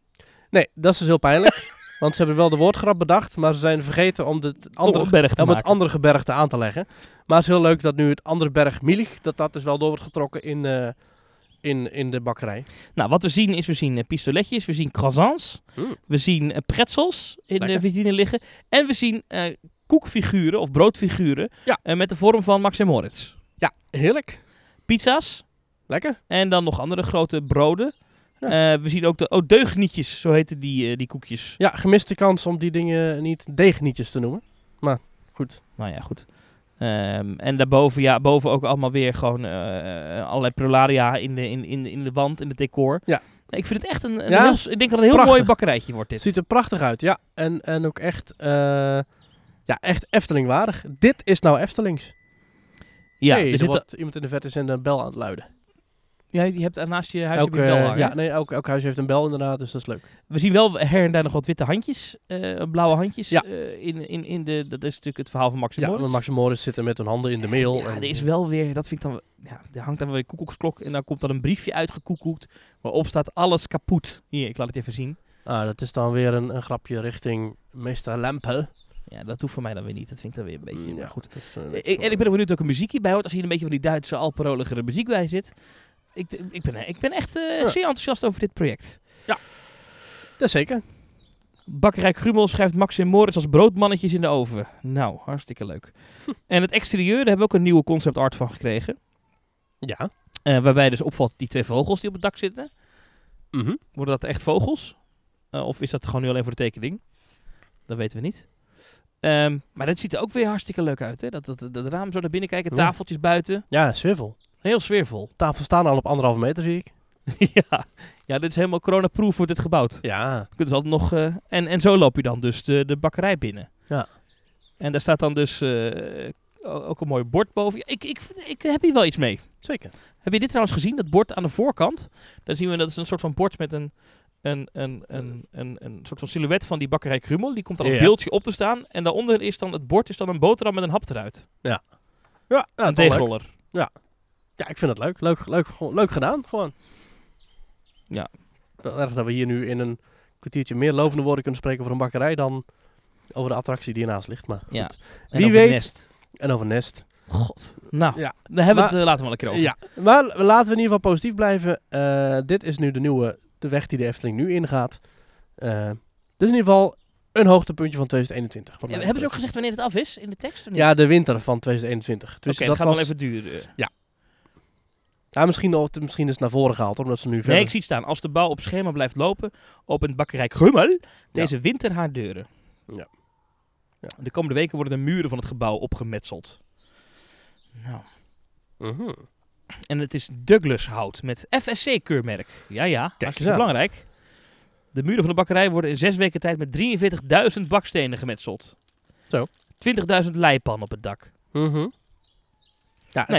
S1: Nee, dat is dus heel pijnlijk. want ze hebben wel de woordgrap bedacht, maar ze zijn vergeten om de- het andere,
S2: Om een berg te
S1: om het
S2: maken.
S1: andere gebergte aan te leggen. Maar het is heel leuk dat nu het andere berg Mielig, dat dat dus wel door wordt getrokken in, eh, in, in de bakkerij.
S2: Nou, wat we zien is, we zien eh, pistoletjes, we zien croissants,
S1: Mm.
S2: we zien eh, pretzels in de
S1: Lekker.
S2: vitrine liggen en we zien eh, koekfiguren of broodfiguren
S1: Ja.
S2: eh, met de vorm van Max en Moritz.
S1: Heerlijk.
S2: Pizza's
S1: Lekker.
S2: en dan nog andere grote broden. Eh, we zien ook de oh, deugnietjes, zo heten die, eh, die koekjes.
S1: Ja, gemiste kans om die dingen niet deegnietjes te noemen. Maar goed.
S2: Nou ja, goed. Ehm, en daarboven, ja, boven ook allemaal weer gewoon eh, eh, allerlei prularia in de, in, in, in de wand, in het decor.
S1: Ja.
S2: Ik vind het echt een, een
S1: Ja?
S2: heel, s- ik denk dat het een heel
S1: Prachtig.
S2: mooi bakkerijtje wordt dit.
S1: Ziet er prachtig uit, ja. En, en ook echt, eh, ja, echt Eftelingwaardig. Dit is nou Eftelings.
S2: ja,
S1: Hey,
S2: er
S1: er
S2: zit
S1: wordt iemand in de verte zijn een bel aan het luiden.
S2: Ja, je hebt naast je huis
S1: Elk,
S2: heb je een bel
S1: eh,
S2: hangen.
S1: ja, nee, elk, elk huis heeft een bel inderdaad, dus dat is leuk.
S2: We zien wel her en daar nog wat witte handjes, eh, blauwe handjes.
S1: Ja.
S2: eh, in, in, in de, dat is natuurlijk het verhaal van Max en
S1: Ja,
S2: Moritz.
S1: want Max en Moritz zitten met hun handen in de mail.
S2: Ja,
S1: en,
S2: er is wel weer, dat vind ik dan, ja, er hangt dan weer een koekoeksklok en dan komt dan een briefje uitgekoekoekt waarop staat alles kapot. Hier, ik laat het even zien.
S1: Ah, dat is dan weer een, een grapje richting meester Lempel.
S2: Ja, dat hoeft voor mij dan weer niet. Dat vind ik dan weer een beetje, maar goed.
S1: dat is, eh,
S2: Eh, Ik, en ik ben ook benieuwd welke muziek hierbij hoort. Als hier een beetje van die Duitse alperoligere muziek bij zit. Ik, ik, ben, ik ben echt eh, zeer enthousiast over dit project.
S1: Dat zeker.
S2: Bakkerij Grumel schrijft Max en Moritz als broodmannetjes in de oven. Nou, hartstikke leuk. En het exterieur, daar hebben we ook een nieuwe concept art van gekregen.
S1: Ja.
S2: Eh, waarbij dus opvalt die twee vogels die op het dak zitten.
S1: Mhm.
S2: Worden dat echt vogels? Eh, of is dat gewoon nu alleen voor de tekening? Dat weten we niet. Ehm, maar dat ziet er ook weer hartstikke leuk uit. Hè? Dat, dat, dat, raam zo naar binnen kijken,
S1: Ja.
S2: tafeltjes buiten.
S1: Ja, zwivel.
S2: Heel sfeervol.
S1: Tafels staan al op anderhalve meter, zie ik.
S2: ja. ja, dit is helemaal coronaproof wordt dit gebouwd.
S1: Ja.
S2: kunnen ze altijd nog. eh, en, en zo loop je dan dus de, de bakkerij binnen.
S1: Ja.
S2: En daar staat dan dus eh, o- ook een mooi bord boven. Ja, Ik, ik, ik heb hier wel iets mee.
S1: Zeker.
S2: Heb je dit trouwens gezien? Dat bord aan de voorkant. Daar zien we dat is een soort van bord met een, een, een, een, een, een soort van silhouet van die bakkerij Krummel. Die komt dan als
S1: Ja.
S2: beeldje op te staan. En daaronder is dan het bord is dan een boterham met een hap eruit.
S1: Ja, ja, toch
S2: een
S1: leuk.
S2: deegroller.
S1: Ja, ik vind het leuk. Leuk, leuk, gewoon leuk gedaan, gewoon.
S2: Ja.
S1: Wel erg dat we hier nu in een kwartiertje meer lovende woorden kunnen spreken over een bakkerij dan over de attractie die ernaast ligt. Maar
S2: Ja.
S1: goed.
S2: En
S1: Wie
S2: over het
S1: weet-
S2: Nest.
S1: En over Nest.
S2: God. Nou,
S1: Ja.
S2: daar hebben we
S1: Maar-
S2: het eh, later wel een keer over.
S1: Ja, maar laten we in ieder geval positief blijven. Eh, dit is nu de nieuwe, de weg die de Efteling nu ingaat. Eh dus in ieder geval een hoogtepuntje van 2021. wat
S2: Eh,
S1: mij
S2: Hebben ze ook
S1: betreft.
S2: gezegd wanneer het af is in de tekst? of niet?
S1: Ja, dus de winter van 2021.
S2: Oké,
S1: Dus
S2: dat
S1: dat
S2: gaat
S1: was,
S2: wel even duren.
S1: ja, misschien, al- misschien is het naar voren gehaald, omdat ze nu verder...
S2: Nee, ik zie het staan. Als de bouw op schema blijft lopen, opent bakkerij Grummel deze winter haar deuren.
S1: Ja. Ja.
S2: De komende weken worden de muren van het gebouw opgemetseld. Nou.
S1: Mhm.
S2: En het is Douglas hout met FSC-keurmerk. Ja, ja. Dat is
S1: eens aan.
S2: belangrijk. De muren van de bakkerij worden in zes weken tijd met 43.000 bakstenen gemetseld.
S1: Zo.
S2: 20.000 leipan op het dak.
S1: Mhm. Ja,
S2: Nee,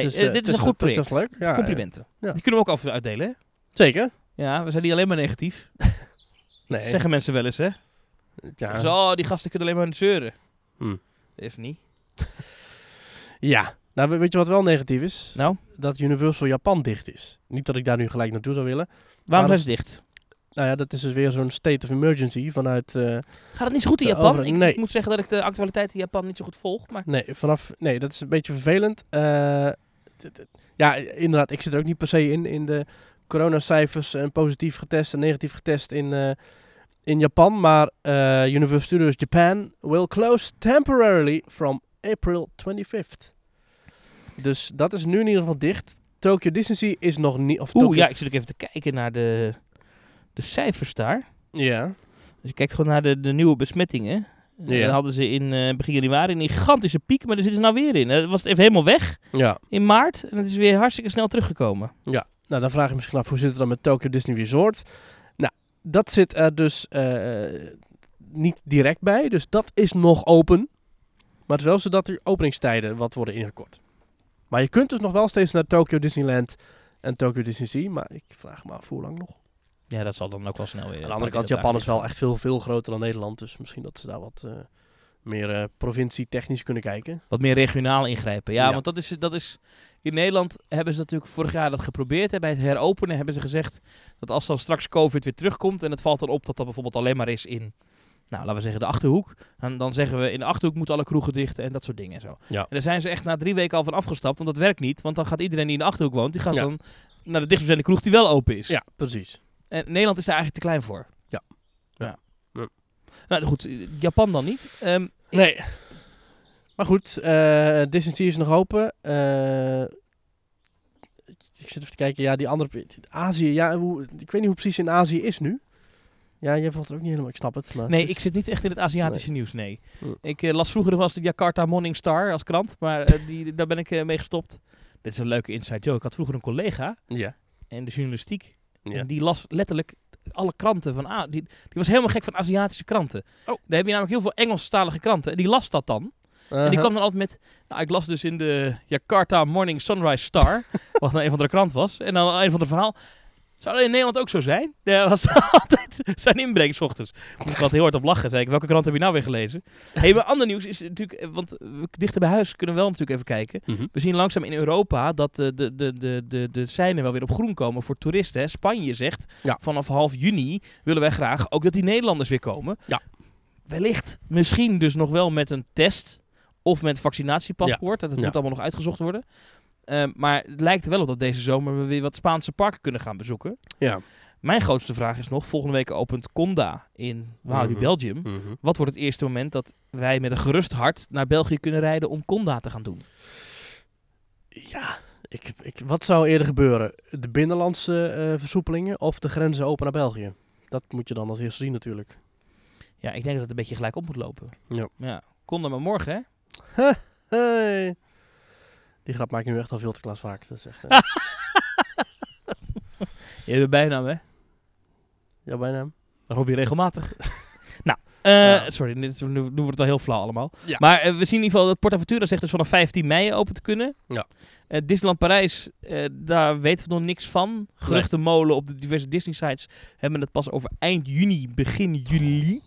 S1: het is,
S2: eh,
S1: eh,
S2: dit
S1: het
S2: is een goed
S1: het is leuk. Ja, eh,
S2: Complimenten.
S1: ja.
S2: Die kunnen we ook af en toe uitdelen. hè?
S1: Zeker.
S2: Ja, we zijn niet alleen maar negatief.
S1: Nee.
S2: Dat zeggen mensen wel eens, hè?
S1: ja.
S2: Zeggen ze, oh, die gasten kunnen alleen maar zeuren.
S1: Hm.
S2: Dat is niet.
S1: ja. Nou, we- weet je wat wel negatief is?
S2: Nou?
S1: Dat Universal Japan dicht is. Niet dat ik daar nu gelijk naartoe zou willen.
S2: Waarom
S1: Waarom
S2: zijn ze dicht?
S1: Nou ja, dat is dus weer zo'n state of emergency vanuit... eh,
S2: Gaat het niet zo goed in
S1: De
S2: Japan?
S1: overheid-
S2: Ik,
S1: nee.
S2: ik moet zeggen dat ik de actualiteit in Japan niet zo goed volg. Maar
S1: nee, vanaf... Nee, dat is een beetje vervelend. Eh, t- t- ja, inderdaad. Ik zit er ook niet per se in, in de coronacijfers. En positief getest en negatief getest in, eh, in Japan. Maar eh, Universal Studios Japan will close temporarily from April 25th. Dus dat is nu in ieder geval dicht. Tokyo Disney is nog niet... Of
S2: oeh,
S1: Tokyo-
S2: ja, ik zit ook even te kijken naar de, de cijfers daar.
S1: Ja.
S2: Dus ik kijk gewoon naar de, de nieuwe besmettingen. Eh,
S1: Ja.
S2: Daar hadden ze in eh, begin januari een gigantische piek, maar daar zitten ze nou weer in. Eh, Het was even helemaal weg
S1: Ja.
S2: in maart en het is weer hartstikke snel teruggekomen.
S1: Nou, dan vraag je je misschien af, hoe zit het dan met Tokyo Disney Resort? Nou, dat zit er dus eh, niet direct bij. Dus dat is nog open. Maar het is wel zo dat er openingstijden wat worden ingekort. Maar je kunt dus nog wel steeds naar Tokyo Disneyland en Tokyo Disney Sea. Maar ik vraag me af hoe lang nog.
S2: Ja, dat zal dan ook wel snel weer.
S1: Aan de andere kant, Japan is wel echt veel, veel groter dan Nederland. Dus misschien dat ze daar wat eh, meer eh provincie-technisch kunnen kijken.
S2: Wat meer regionaal ingrijpen. Ja,
S1: Ja.
S2: want dat is, dat is. In Nederland hebben ze natuurlijk vorig jaar dat geprobeerd. Hè. Bij het heropenen hebben ze gezegd dat als dan straks COVID weer terugkomt. en het valt dan op dat dat bijvoorbeeld alleen maar is in. Nou, laten we zeggen de achterhoek. Dan, dan zeggen we in de achterhoek moeten alle kroegen dicht en dat soort dingen en zo.
S1: Ja.
S2: En daar zijn ze echt na drie weken al van afgestapt, want dat werkt niet. Want dan gaat iedereen die in de achterhoek woont, die gaat
S1: Ja.
S2: dan naar de dichtstbijzijnde kroeg die wel open is.
S1: Ja, precies.
S2: En Nederland is daar eigenlijk te klein voor.
S1: Ja.
S2: ja.
S1: Ja.
S2: Nou goed, Japan dan niet. Ehm,
S1: Nee. Maar goed, eh Disney Sea is nog open. Eh, ik zit even te kijken. Ja, die andere... Azië, ja, hoe, ik weet niet hoe het precies in Azië is nu. Ja, jij valt er ook niet helemaal... Ik snap het, maar...
S2: Nee,
S1: het is-
S2: ik zit niet echt in het Aziatische nieuws, nee.
S1: Hm.
S2: Ik eh, las vroeger nog wel eens de Jakarta Morning Star als krant, maar eh, die, daar ben ik eh, mee gestopt. Dit is een leuke inside joke. Ik had vroeger een collega
S1: Ja.
S2: in de journalistiek
S1: ja.
S2: en die las letterlijk alle kranten van... A die, die was helemaal gek van Aziatische kranten.
S1: Oh.
S2: Daar heb je namelijk heel veel Engelstalige kranten en die las dat dan. En die
S1: Aha.
S2: kwam dan altijd met... Nou, ik las dus in de Jakarta Morning Sunrise Star, wat een van de krant was. En dan een van de verhaal... Zou dat in Nederland ook zo zijn? Dat was altijd zijn inbreng 's ochtends. Moest ik altijd heel hard op lachen. Zei ik, welke krant heb je nou weer gelezen? hey, maar ander nieuws is natuurlijk... eh, Want eh, dichter bij huis kunnen we wel natuurlijk even kijken.
S1: Mhm.
S2: We zien langzaam in Europa dat eh, de, de, de, de, de seinen wel weer op groen komen voor toeristen. Hè. Spanje zegt,
S1: Ja.
S2: vanaf half juni willen wij graag ook dat die Nederlanders weer komen.
S1: Ja.
S2: Wellicht misschien dus nog wel met een test of met vaccinatiepaspoort. Dat, dat
S1: Ja.
S2: moet allemaal nog uitgezocht worden. Eh, maar het lijkt er wel op dat deze zomer we weer wat Spaanse parken kunnen gaan bezoeken.
S1: Ja.
S2: Mijn grootste vraag is nog, volgende week opent Conda in Walibi,
S1: Mhm.
S2: Belgium.
S1: Mhm.
S2: Wat wordt het eerste moment dat wij met een gerust hart naar België kunnen rijden om Conda te gaan doen?
S1: Ja, ik, ik, wat zou eerder gebeuren? De binnenlandse eh, versoepelingen of de grenzen open naar België? Dat moet je dan als eerste zien natuurlijk.
S2: Ja, ik denk dat het een beetje gelijk op moet lopen.
S1: Ja.
S2: ja. Kon dan maar morgen, hè?
S1: Hey. Die grap maak ik nu echt al veel te klas vaak. Dat is echt, eh,
S2: Je hebt een bijnaam, hè?
S1: jouw bijnaam.
S2: Dan roep je regelmatig. nou, eh,
S1: Ja.
S2: sorry, dit, nu, nu wordt het al heel flauw allemaal.
S1: Ja.
S2: Maar eh, we zien in ieder geval dat PortAventura zegt dus vanaf 15 mei open te kunnen.
S1: Ja.
S2: Eh, Disneyland Parijs, eh, daar weten we nog niks van. Geruchtenmolen op de diverse Disney-sites hebben het pas over eind juni, begin juli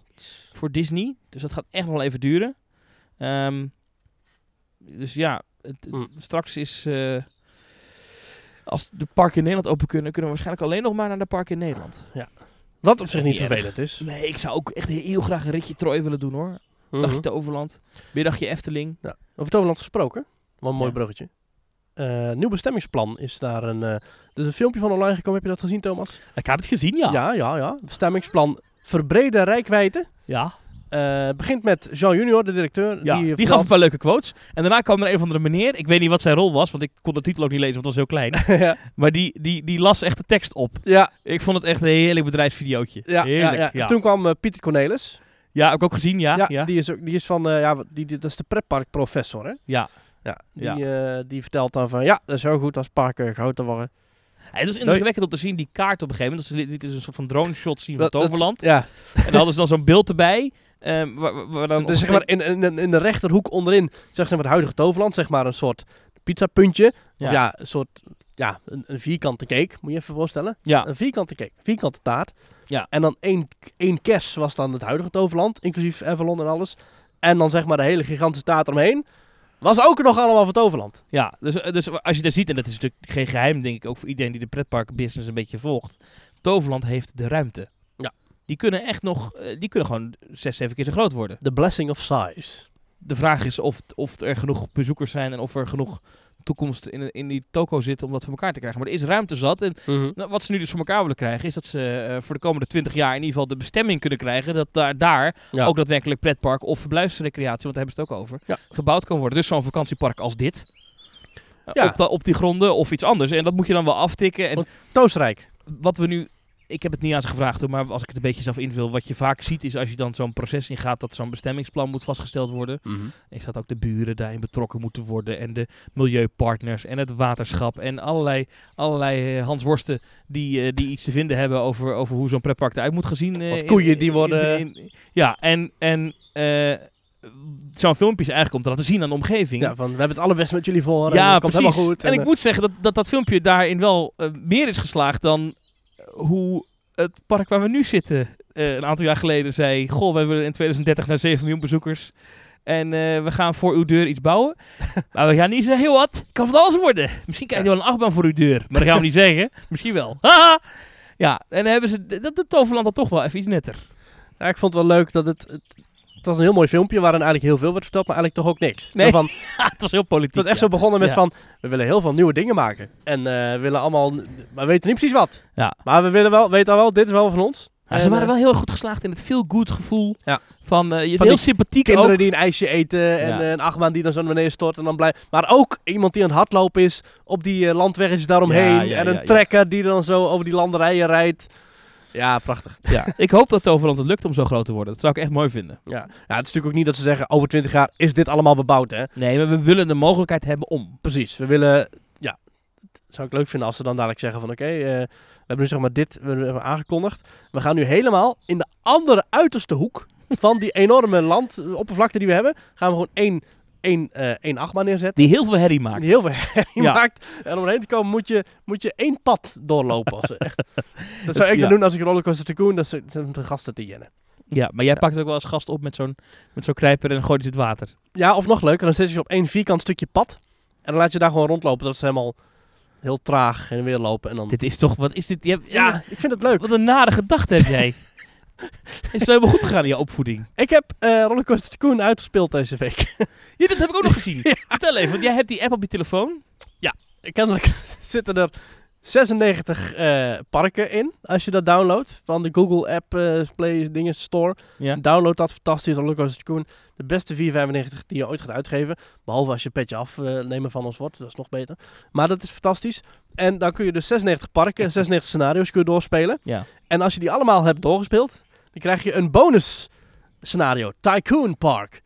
S2: voor Disney. Dus dat gaat echt nog wel even duren. Ehm, dus ja, het-
S1: Mm.
S2: straks is... eh, als de parken in Nederland open kunnen, kunnen we waarschijnlijk alleen nog maar naar de parken in Nederland.
S1: Wat op zich niet
S2: Niet erg.
S1: vervelend is.
S2: Nee, ik zou ook echt heel graag een ritje Troy willen doen hoor. Dagje
S1: Mhm.
S2: Toverland, middagje Efteling.
S1: Over Toverland gesproken. Wat een mooi
S2: Ja.
S1: bruggetje. Eh, nieuw bestemmingsplan is daar een... eh er is een filmpje van online gekomen. Heb je dat gezien, Thomas?
S2: Ik heb het gezien, ja.
S1: ja, ja. ja. Bestemmingsplan verbreden rijkwijde.
S2: Ja,
S1: Eh, begint met Jean Junior, de directeur.
S2: ja.
S1: eh,
S2: Die,
S1: vertelt-
S2: gaf een paar leuke quotes. En daarna kwam er een of andere meneer. Ik weet niet wat zijn rol was, want ik kon de titel ook niet lezen, want het was heel klein.
S1: ja,
S2: maar die, die, die las echt de tekst op.
S1: ja,
S2: Ik vond het echt een heerlijk bedrijfsvideootje.
S1: Ja,
S2: heerlijk.
S1: ja, ja. En
S2: ja.
S1: toen kwam eh, Pieter Cornelis.
S2: Ja, heb ik ook gezien, ja.
S1: Ja,
S2: Ja, ja.
S1: Die, is ook, die is van, eh, ja, wat- die, die- dat is de pretparkprofessor, hè?
S2: Ja.
S1: Ja, die, eh, die vertelt dan van, ja, dat is heel goed als parken groter worden.
S2: Het was indrukwekkend om te zien die kaart op een gegeven moment. Dus dit is een soort van drone shot zien van
S1: Dat- dat-
S2: Toverland.
S1: Ja,
S2: En dan hadden ze dan zo'n beeld erbij. ehm, waar, waar- waar dan
S1: dus zeg maar in, in, in- in de rechterhoek onderin, zeg maar het huidige Toverland, zeg maar een soort pizzapuntje.
S2: Ja.
S1: Of ja, een soort, ja, een, een vierkante cake, moet je even voorstellen.
S2: ja.
S1: Een vierkante cake, vierkante taart.
S2: Ja.
S1: En dan één, één kers was dan het huidige Toverland, inclusief Avalon en alles. En dan zeg maar de hele gigantische taart eromheen. Was ook nog allemaal van Toverland.
S2: Ja, dus, eh, dus als je dat ziet, en dat is natuurlijk geen geheim, denk ik, ook voor iedereen die de pretparkbusiness een beetje volgt. Toverland heeft de ruimte.
S1: Ja.
S2: Die kunnen echt nog, eh, die kunnen gewoon zes, zeven keer zo groot worden.
S1: The Blessing of Size.
S2: De vraag is of, of er genoeg bezoekers zijn en of er genoeg toekomst in, in die toko zit om dat voor elkaar te krijgen. Maar er is ruimte zat. En nou, wat ze nu dus voor elkaar willen krijgen, is dat ze eh, voor de komende twintig jaar in ieder geval de bestemming kunnen krijgen. Dat daar, daar
S1: Ja.
S2: ook daadwerkelijk pretpark of verblijfsrecreatie, want daar hebben ze het ook over,
S1: Ja.
S2: gebouwd kan worden. Dus zo'n vakantiepark als dit. eh,
S1: Ja.
S2: Op, da- op die gronden of iets anders. En dat moet je dan wel aftikken. En
S1: Want- Toosrijk.
S2: wat we nu. Ik heb het niet aan ze gevraagd, hoor, maar als ik het een beetje zelf invul. Wat je vaak ziet is als je dan zo'n proces ingaat. dat zo'n bestemmingsplan moet vastgesteld worden. Ik staat ook de buren daarin betrokken moeten worden. En de milieupartners en het waterschap. En allerlei, allerlei eh, Hans Worsten die, eh, die iets te vinden hebben over, over hoe zo'n pretpark eruit moet gezien. eh,
S1: Wat koeien die worden-
S2: ja, en, en eh, zo'n filmpje is eigenlijk om te laten zien aan de omgeving.
S1: Ja, van, we hebben het allerbest met jullie voor. en
S2: Ja,
S1: het komt
S2: precies.
S1: helemaal goed.
S2: en ik
S1: eh,
S2: moet zeggen dat dat, dat filmpje daarin wel eh, meer is geslaagd dan eh, hoe eh, het park waar we nu zitten eh, een aantal jaar geleden zei... Goh, we willen in 2030 naar 7 miljoen bezoekers. En eh, we gaan voor uw deur iets bouwen. maar we gaan niet zeggen, heel wat, kan van alles worden. Misschien krijg je wel een achtbaan voor uw deur. Maar dat gaan we niet zeggen. Misschien wel. Haha. ja, en dan hebben ze... Dat doet Toverland dan toch wel even iets netter.
S1: Ja, Nou, ik vond het wel leuk dat het, het... het was een heel mooi filmpje waarin eigenlijk heel veel werd verteld, maar eigenlijk toch ook niks.
S2: Nee.
S1: Van,
S2: Ah, het was heel politiek.
S1: het was echt
S2: ja.
S1: zo begonnen met
S2: Ja.
S1: van, we willen heel veel nieuwe dingen maken. En eh, we willen allemaal, maar we weten niet precies wat.
S2: Ja.
S1: Maar we willen wel, weten al wel, dit is wel van ons.
S2: Ja, ze
S1: En,
S2: waren
S1: eh,
S2: wel heel goed geslaagd in het feel-good gevoel.
S1: Ja.
S2: Van, eh, je
S1: Van
S2: heel
S1: die
S2: sympathiek
S1: Kinderen
S2: ook.
S1: die een ijsje eten en
S2: Ja.
S1: eh, een achtbaan die dan zo naar beneden stort en dan blijft. Maar ook iemand die aan het hardlopen is op die eh, landwegjes daaromheen.
S2: Ja, ja,
S1: en een
S2: ja, ja.
S1: trekker die dan zo over die landerijen rijdt. Ja, prachtig.
S2: Ja. ik hoop dat Toverland het lukt om zo groot te worden. Dat zou ik echt mooi vinden.
S1: Ja. ja, het is natuurlijk ook niet dat ze zeggen over 20 jaar is dit allemaal bebouwd hè.
S2: Nee, maar we willen de mogelijkheid hebben om.
S1: Precies, we willen, ja, het zou ik leuk vinden als ze dan dadelijk zeggen van oké, eh, we hebben nu zeg maar dit we hebben aangekondigd. We gaan nu helemaal in de andere uiterste hoek van die enorme landoppervlakte die we hebben, gaan we gewoon één, één, eh één achtbaan neerzetten.
S2: Die heel veel herrie maakt.
S1: Die heel veel herrie
S2: Ja.
S1: maakt. En om erheen te komen moet je, moet je één pad doorlopen. Als, echt. Dat zou ik
S2: Ja.
S1: dan doen als ik Rollercoaster Tycoon, dat zijn dat zijn de gasten die jennen.
S2: Ja, maar jij
S1: Ja.
S2: pakt ook wel als gast op met zo'n met zo'n knijper en gooit iets in het water.
S1: Ja, of nog leuker, dan zet je ze op één vierkant stukje pad en dan laat je daar gewoon rondlopen. Dat ze helemaal heel traag heen en weer lopen en dan...
S2: Dit is toch, wat is dit? Je hebt-
S1: ja, ik vind het leuk.
S2: Wat een nare gedachte heb jij. is het helemaal goed gegaan in je opvoeding?
S1: Ik heb eh Rollercoaster Tycoon uitgespeeld deze week.
S2: Ja, dat heb ik ook nog gezien. Vertel even, want jij hebt die app op je telefoon.
S1: Kennelijk zitten er 96 eh, parken in als je dat downloadt van de Google App eh, Play dingen Store.
S2: Ja.
S1: Download dat fantastisch Rollercoaster Tycoon. De beste 4,95 die je ooit gaat uitgeven, behalve als je petje afnemen van ons wordt, dat is nog beter. Maar dat is fantastisch. En dan kun je dus 96 parken, 96 scenario's kun je doorspelen.
S2: Ja.
S1: En als je die allemaal hebt doorgespeeld, dan krijg je een bonus scenario. Tycoon Park.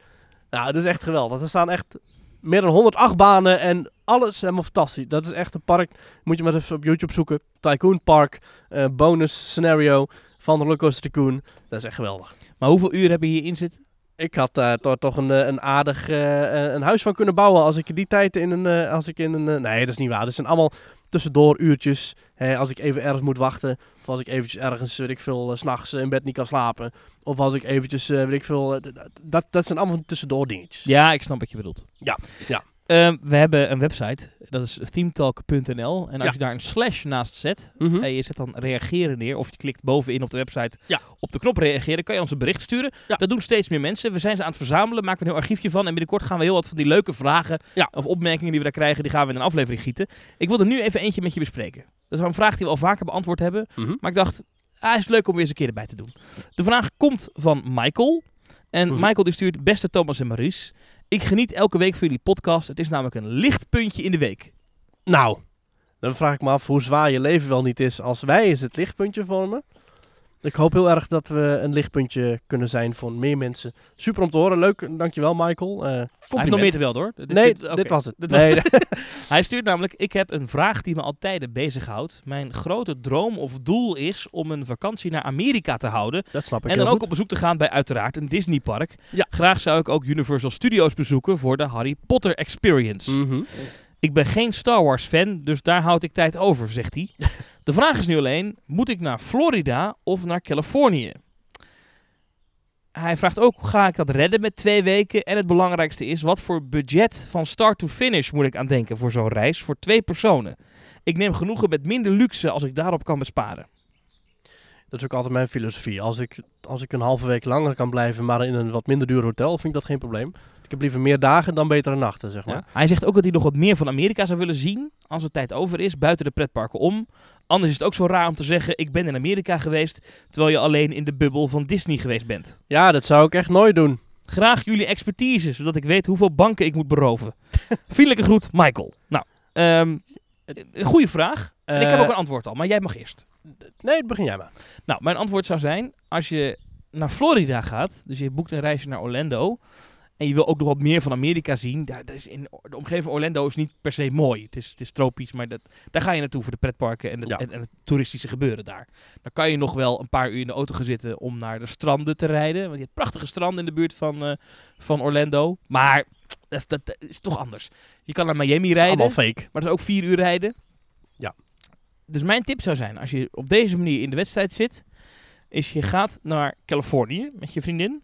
S1: Nou, dat is echt geweldig. Er staan echt meer dan 108 banen en alles helemaal fantastisch. Dat is echt een park. Moet je maar even op YouTube zoeken. Tycoon Park, eh, bonus scenario van de Lucas Tycoon. Dat is echt geweldig.
S2: Maar hoeveel uur heb je hierin zitten?
S1: Ik had daar toch, toch een, eh, een aardig eh, eh, een huis van kunnen bouwen als ik die tijd in een... eh, als ik in een eh, nee, dat is niet waar. Dat zijn allemaal tussendoor uurtjes. Hè, als ik even ergens moet wachten. Of als ik eventjes ergens, weet ik veel, eh, 's s'nachts in bed niet kan slapen. Of als ik eventjes, eh, weet ik veel... eh, d- d- dat, dat zijn allemaal tussendoor dingetjes.
S2: Ja, ik snap wat je bedoelt.
S1: Ja, ja.
S2: Ehm, we hebben een website, dat is themetalk.nl. En als
S1: Ja.
S2: je daar een slash naast zet,
S1: Mhm.
S2: en je zet dan reageren neer, of je klikt bovenin op de website
S1: Ja.
S2: op de knop reageren, kan je ons een bericht sturen.
S1: Ja.
S2: Dat doen steeds meer mensen. We zijn ze aan het verzamelen, maken we een heel archiefje van. En binnenkort gaan we heel wat van die leuke vragen
S1: Ja.
S2: of opmerkingen die we daar krijgen, die gaan we in een aflevering gieten. Ik wil er nu even eentje met je bespreken. Dat is wel een vraag die we al vaker beantwoord hebben.
S1: Mhm.
S2: Maar ik dacht, ah, is het leuk om weer eens een keer erbij te doen. De vraag komt van Michael. En
S1: Mhm.
S2: Michael die stuurt, beste Thomas en Maries. Ik geniet elke week van jullie podcast. Het is namelijk een lichtpuntje in de week.
S1: Nou, dan vraag ik me af hoe zwaar je leven wel niet is als wij eens het lichtpuntje vormen. Ik hoop heel erg dat we een lichtpuntje kunnen zijn voor meer mensen. Super om te horen. Leuk. Dankjewel, Michael. Eh,
S2: Hij
S1: compliment.
S2: heeft nog meer te wel, hoor. Dus Dit is-
S1: nee,
S2: oké.
S1: dit was het.
S2: Dit
S1: nee,
S2: was- Hij stuurt namelijk: Ik heb een vraag die me al tijden bezighoudt. Mijn grote droom of doel is om een vakantie naar Amerika te houden.
S1: dat snap ik
S2: en
S1: heel
S2: dan ook
S1: goed.
S2: op bezoek te gaan bij uiteraard een Disneypark.
S1: Ja.
S2: Graag zou ik ook Universal Studios bezoeken voor de Harry Potter Experience.
S1: Mhm.
S2: Ik ben geen Star Wars fan, dus daar houd ik tijd over, zegt hij. De vraag is nu alleen: moet ik naar Florida of naar Californië? Hij vraagt ook: ga ik dat redden met twee weken? En het belangrijkste is: wat voor budget van start to finish moet ik aan denken voor zo'n reis voor twee personen? Ik neem genoegen met minder luxe als ik daarop kan besparen.
S1: Dat is ook altijd mijn filosofie. Als ik, als ik een halve week langer kan blijven, maar in een wat minder duur hotel, vind ik dat geen probleem. Ik heb liever meer dagen dan betere nachten, zeg maar.
S2: Hij zegt ook dat hij nog wat meer van Amerika zou willen zien als er tijd over is, buiten de pretparken om. Anders is het ook zo raar om te zeggen: ik ben in Amerika geweest, terwijl je alleen in de bubbel van Disney geweest bent.
S1: Ja, dat zou ik echt nooit doen.
S2: Graag jullie expertise, zodat ik weet hoeveel banken ik moet beroven. Vriendelijke groet, Michael. Nou, ehm, een goede vraag. En ik heb
S1: Eh,
S2: ook een antwoord al, maar jij mag eerst.
S1: Nee, begin jij maar.
S2: Nou, mijn antwoord zou zijn, als je naar Florida gaat, dus je boekt een reisje naar Orlando, en je wil ook nog wat meer van Amerika zien, daar, daar is in, de omgeving van Orlando is niet per se mooi. Het is, het is tropisch, maar dat, daar ga je naartoe voor de pretparken en, de,
S1: Ja.
S2: en, en het toeristische gebeuren daar. Dan kan je nog wel een paar uur in de auto gaan zitten om naar de stranden te rijden, want je hebt prachtige stranden in de buurt van, eh, van Orlando, maar dat is, dat is toch anders. Je kan naar Miami
S1: Het is
S2: rijden.
S1: allemaal fake.
S2: Maar dat is ook vier uur rijden.
S1: Ja.
S2: dus mijn tip zou zijn, als je op deze manier in de wedstrijd zit, is je gaat naar Californië met je vriendin.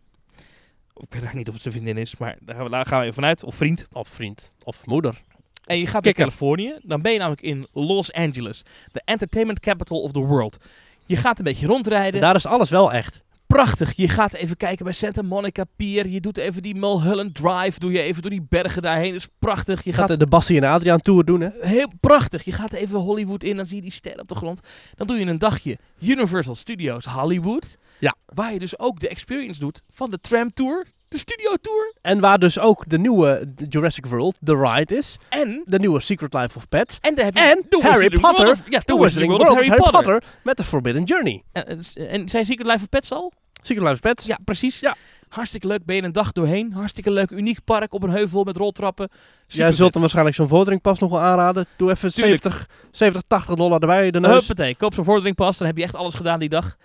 S2: Of Ik weet eigenlijk niet of het zijn vriendin is, maar daar gaan we, daar gaan we vanuit. Of vriend.
S1: Of vriend. Of moeder.
S2: En je gaat
S1: Kikker.
S2: naar Californië, dan ben je namelijk in Los Angeles. De entertainment capital of the world. Je gaat een beetje rondrijden.
S1: Daar is alles wel echt.
S2: Prachtig. Je gaat even kijken bij Santa Monica Pier. Je doet even die Mulholland Drive. Doe je even door die bergen daarheen. Dat is prachtig. Je
S1: Je gaat
S2: gaat
S1: de Bassie en Adriaan tour doen, hè?
S2: heel prachtig. Je gaat even Hollywood in, dan zie je die sterren op de grond. Dan doe je een dagje Universal Studios Hollywood.
S1: Ja.
S2: Waar je dus ook de experience doet van de tram tour, de studio tour
S1: En waar dus ook de nieuwe Jurassic World, The Ride is.
S2: en
S1: De nieuwe Secret Life of Pets.
S2: en daar heb je
S1: En
S2: de
S1: Harry
S2: Wizarding World
S1: Potter.
S2: of- ja,
S1: De Wizarding World of Harry Potter. met de Forbidden Journey.
S2: En, en, en zijn Secret Life of Pets al?
S1: Secret Life of Pets.
S2: Ja, precies.
S1: Ja.
S2: Hartstikke leuk. Ben je een dag doorheen. Hartstikke leuk. Uniek park op een heuvel met roltrappen.
S1: Jij
S2: Supervet.
S1: zult hem waarschijnlijk zo'n voteringpas nog wel aanraden. Doe even
S2: Tuurlijk.
S1: 70, 70, 80 dollar erbij de neus.
S2: Huppatee, koop zo'n vorderingpas, dan heb je echt alles gedaan die dag.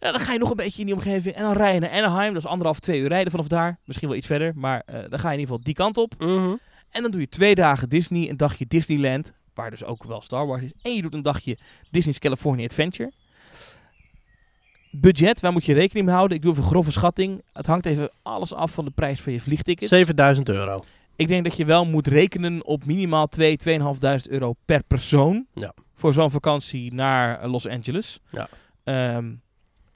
S2: Ja, dan ga je nog een beetje in die omgeving en dan rij je naar Anaheim. Dat is anderhalf, twee uur rijden vanaf daar. Misschien wel iets verder, maar eh, dan ga je in ieder geval die kant op.
S1: Mhm.
S2: En dan doe je twee dagen Disney, een dagje Disneyland, waar dus ook wel Star Wars is. En je doet een dagje Disney's California Adventure. Budget, waar moet je rekening mee houden? Ik doe even een grove schatting. Het hangt even alles af van de prijs van je vliegtickets.
S1: 7000 euro.
S2: Ik denk dat je wel moet rekenen op minimaal 2, 2.500 euro per persoon.
S1: Ja.
S2: Voor zo'n vakantie naar eh, Los Angeles.
S1: Ja.
S2: Ehm,